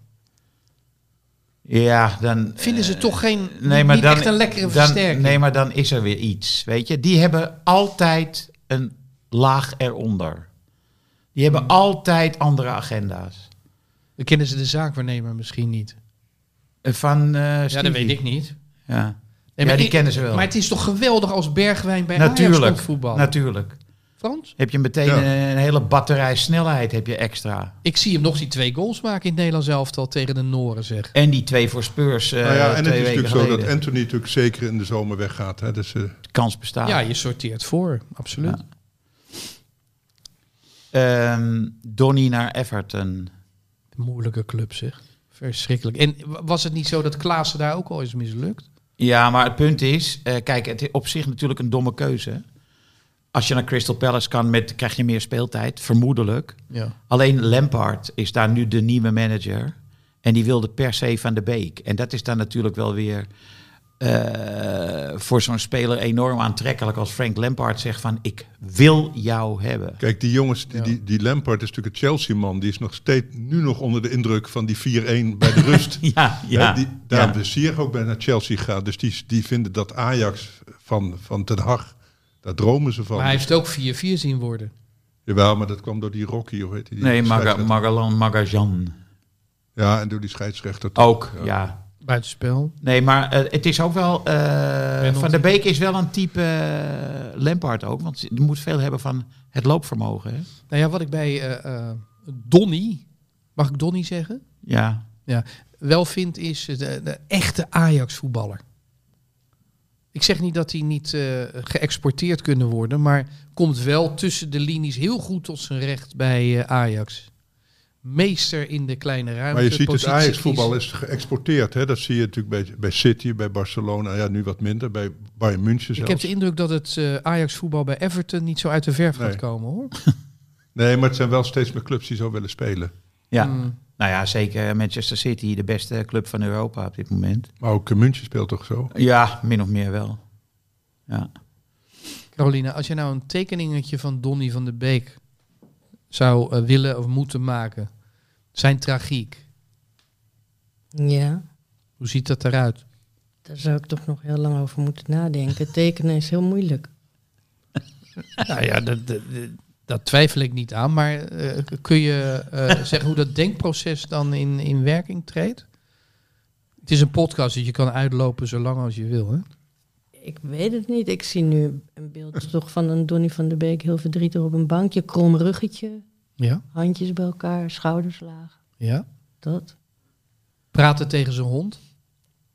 [SPEAKER 3] Ja, dan...
[SPEAKER 1] Vinden ze toch geen,
[SPEAKER 3] Eh, Nee, maar
[SPEAKER 1] niet
[SPEAKER 3] dan,
[SPEAKER 1] echt een lekkere
[SPEAKER 3] dan-
[SPEAKER 1] versterking?
[SPEAKER 3] Nee, maar dan is er weer iets. Weet je, die hebben altijd een laag eronder. Die
[SPEAKER 1] Hmm.
[SPEAKER 3] hebben altijd andere agenda's.
[SPEAKER 1] Dan kennen ze de zaakwaarnemer misschien niet.
[SPEAKER 3] Eh, Van eh,
[SPEAKER 1] Ja,
[SPEAKER 3] Stevie.
[SPEAKER 1] dat weet ik niet.
[SPEAKER 3] Ja,
[SPEAKER 1] Nee,
[SPEAKER 3] Ja,
[SPEAKER 1] maar
[SPEAKER 3] die
[SPEAKER 1] ik-
[SPEAKER 3] kennen ze wel.
[SPEAKER 1] Maar het is toch geweldig als Bergwijn bij Ajax
[SPEAKER 3] natuurlijk.
[SPEAKER 1] komt voetballen?
[SPEAKER 3] Natuurlijk.
[SPEAKER 1] Frans?
[SPEAKER 3] Heb je meteen
[SPEAKER 2] Ja.
[SPEAKER 3] een, een hele batterij snelheid heb je extra.
[SPEAKER 1] Ik zie hem nog die twee goals maken in het Nederlands elftal tegen de Noren, zeg.
[SPEAKER 3] En die twee voor Spurs eh
[SPEAKER 2] nou ja, en het
[SPEAKER 3] twee
[SPEAKER 2] is
[SPEAKER 3] weken
[SPEAKER 2] natuurlijk zo
[SPEAKER 3] geleden.
[SPEAKER 2] dat Anthony natuurlijk zeker in de zomer weggaat. Hè? Dus, eh,
[SPEAKER 3] De kans bestaat.
[SPEAKER 1] Ja, je sorteert voor, absoluut.
[SPEAKER 3] Ehm, Donny naar Everton.
[SPEAKER 1] Moeilijke club, zeg. Verschrikkelijk. En wa- was het niet zo dat Klaassen daar ook al is mislukt?
[SPEAKER 3] Ja, maar het punt is, eh, kijk, het is op zich natuurlijk een domme keuze. Als je naar Crystal Palace kan, met, krijg je meer speeltijd, vermoedelijk.
[SPEAKER 1] Ja.
[SPEAKER 3] Alleen Lampard is daar nu de nieuwe manager. En die wilde per se van de Beek. En dat is dan natuurlijk wel weer eh, voor zo'n speler enorm aantrekkelijk als Frank Lampard zegt van ik wil jou hebben.
[SPEAKER 2] kijk, die jongens, die,
[SPEAKER 1] Ja.
[SPEAKER 2] die, die Lampard is natuurlijk een Chelsea-man. Die is nog steeds nu nog onder de indruk van die 4-1 bij de rust.
[SPEAKER 3] [LAUGHS] Ja,
[SPEAKER 2] Hè,
[SPEAKER 3] ja.
[SPEAKER 2] die, daarom
[SPEAKER 3] ja.
[SPEAKER 2] de Sier ook bij naar Chelsea gaat. Dus die, die vinden dat Ajax van, van Den Haag, daar dromen ze van.
[SPEAKER 1] Maar hij heeft ook 4-4 zien worden.
[SPEAKER 2] Jawel, maar dat kwam door die Rocky, hoe heet die? die
[SPEAKER 3] Nee, Maga,
[SPEAKER 2] scheidsrechter.
[SPEAKER 3] Magalan, Magajan
[SPEAKER 2] Ja, en door die scheidsrechter.
[SPEAKER 3] ook, ja.
[SPEAKER 1] Buitenspel.
[SPEAKER 3] Nee, maar eh, het is ook wel. eh, Van
[SPEAKER 1] Penalty.
[SPEAKER 3] der Beek is wel een type eh, Lampard ook. Want die moet veel hebben van het loopvermogen. Hè?
[SPEAKER 1] Nou ja, wat ik bij eh, eh, Donny, mag ik Donny zeggen?
[SPEAKER 3] Ja.
[SPEAKER 1] wel vind is de, de echte Ajax-voetballer. Ik zeg niet dat die niet eh, geëxporteerd kunnen worden, maar komt wel tussen de linies heel goed tot zijn recht bij eh, Ajax. Meester in de kleine ruimte.
[SPEAKER 2] Maar je ziet het
[SPEAKER 1] positie
[SPEAKER 2] Ajax-voetbal
[SPEAKER 1] kiezen.
[SPEAKER 2] is geëxporteerd. Hè? Dat zie je natuurlijk bij, bij City, bij Barcelona. Ja, nu wat minder. Bij Bayern München
[SPEAKER 1] Ik
[SPEAKER 2] zelfs.
[SPEAKER 1] heb de indruk dat het eh, Ajax-voetbal bij Everton niet zo uit de verf gaat
[SPEAKER 2] Nee.
[SPEAKER 1] komen, hoor.
[SPEAKER 2] Nee, maar het zijn wel steeds meer clubs die zo willen spelen.
[SPEAKER 3] ja.
[SPEAKER 1] Mm.
[SPEAKER 3] Nou ja, zeker Manchester City, de beste club van Europa op dit moment.
[SPEAKER 2] Maar ook eh, München speelt toch zo?
[SPEAKER 3] Ja, min of meer wel. Ja.
[SPEAKER 1] Carolina, als je nou een tekeningetje van Donny van de Beek zou eh, willen of moeten maken, zijn tragiek,
[SPEAKER 5] Ja,
[SPEAKER 1] hoe ziet dat eruit?
[SPEAKER 5] daar zou ik toch nog heel lang over moeten nadenken. Tekenen is heel moeilijk.
[SPEAKER 1] Nou ja, dat, dat, dat twijfel ik niet aan. Maar eh, kun je [LAUGHS] eh, zeggen hoe dat denkproces dan in, in werking treedt? Het is een podcast, dus je kan uitlopen zo lang als je wil. Hè?
[SPEAKER 5] Ik weet het niet. Ik zie nu een beeld toch van een Donny van der Beek heel verdrietig op een bankje. Krom ruggetje,
[SPEAKER 1] Ja.
[SPEAKER 5] handjes bij elkaar, schouders laag.
[SPEAKER 1] ja.
[SPEAKER 5] Dat.
[SPEAKER 1] Praten tegen zijn hond.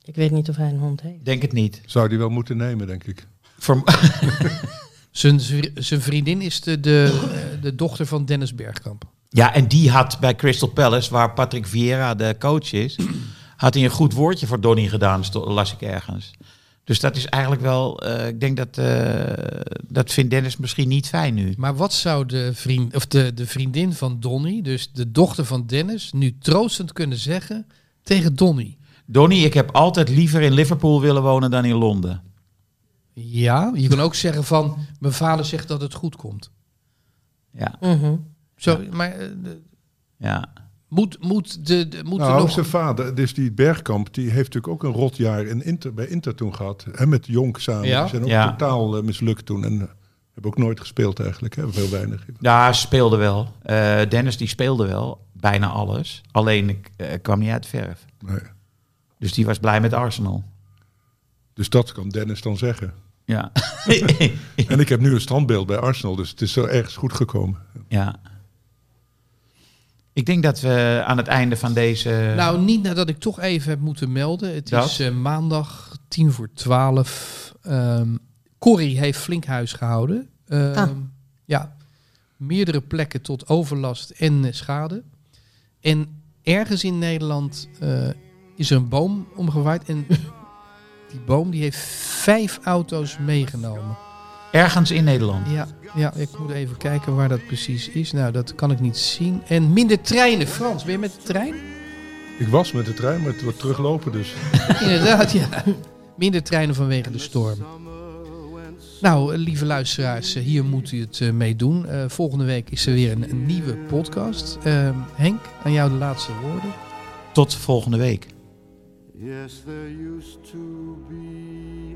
[SPEAKER 5] Ik weet niet of hij een hond heeft.
[SPEAKER 3] Denk het niet.
[SPEAKER 2] Zou die wel moeten nemen, denk ik.
[SPEAKER 3] Voor-
[SPEAKER 1] [LAUGHS] Zijn, vri- zijn vriendin is de, de, eh, de dochter van Dennis Bergkamp.
[SPEAKER 3] ja, en die had bij Crystal Palace, waar Patrick Vieira de coach is, [CLEARS THROAT] had hij een goed woordje voor Donny gedaan, sto- las ik ergens. Dus dat is eigenlijk wel, eh, ik denk dat, eh, dat vindt Dennis misschien niet fijn nu.
[SPEAKER 1] Maar wat zou de, vriend, of de, de vriendin van Donny, dus de dochter van Dennis, nu troostend kunnen zeggen tegen Donny?
[SPEAKER 3] Donny, ik heb altijd liever in Liverpool willen wonen dan in Londen.
[SPEAKER 1] Ja, je kan ook zeggen van, mijn vader zegt dat het goed komt.
[SPEAKER 3] Ja,
[SPEAKER 5] Mhm.
[SPEAKER 1] Zo, maar eh, de-
[SPEAKER 3] ja.
[SPEAKER 1] Moet, moet, de, de- moet
[SPEAKER 2] Nou,
[SPEAKER 1] er nog...
[SPEAKER 2] zijn vader, dus die Bergkamp, die heeft natuurlijk ook een rotjaar in Inter, bij Inter toen gehad. Hè, met Jonk samen.
[SPEAKER 1] Ja.
[SPEAKER 2] Die zijn ook
[SPEAKER 3] Ja.
[SPEAKER 2] totaal eh, mislukt toen. En eh, hebben ook nooit gespeeld eigenlijk. Hè? Heel weinig.
[SPEAKER 3] ja speelde wel. Eh, Dennis die speelde wel. bijna alles. Alleen ik eh, kwam niet uit de verf.
[SPEAKER 2] Nee.
[SPEAKER 3] Dus die was blij met Arsenal.
[SPEAKER 2] Dus dat kan Dennis dan zeggen.
[SPEAKER 3] Ja.
[SPEAKER 2] En ik heb nu een standbeeld bij Arsenal, dus het is zo ergens goed gekomen.
[SPEAKER 3] ja. Ik denk dat we aan het einde van deze...
[SPEAKER 1] Nou, niet nadat ik toch even heb moeten melden. Het
[SPEAKER 3] Dat?
[SPEAKER 1] is eh, maandag tien voor twaalf. Ehm Corrie heeft flink huis gehouden. Ehm,
[SPEAKER 5] Ah.
[SPEAKER 1] Ja, meerdere plekken tot overlast en eh, schade. En ergens in Nederland eh, is er een boom omgewaaid. En [LAUGHS] die boom die heeft vijf auto's meegenomen.
[SPEAKER 3] ergens in Nederland.
[SPEAKER 1] Ja, ja, ik moet even kijken waar dat precies is. Nou, dat kan ik niet zien. En minder treinen. Frans, ben je met de trein?
[SPEAKER 2] Ik was met de trein, maar het wordt teruglopen dus.
[SPEAKER 1] [LAUGHS] Inderdaad, ja. Minder treinen vanwege de storm. Nou, eh, lieve luisteraars, eh, hier moet u het eh, mee doen. Eh, volgende week is er weer een, een nieuwe podcast. Eh, Henk, aan jou de laatste woorden.
[SPEAKER 3] Tot volgende week.
[SPEAKER 4] Yes, there used to be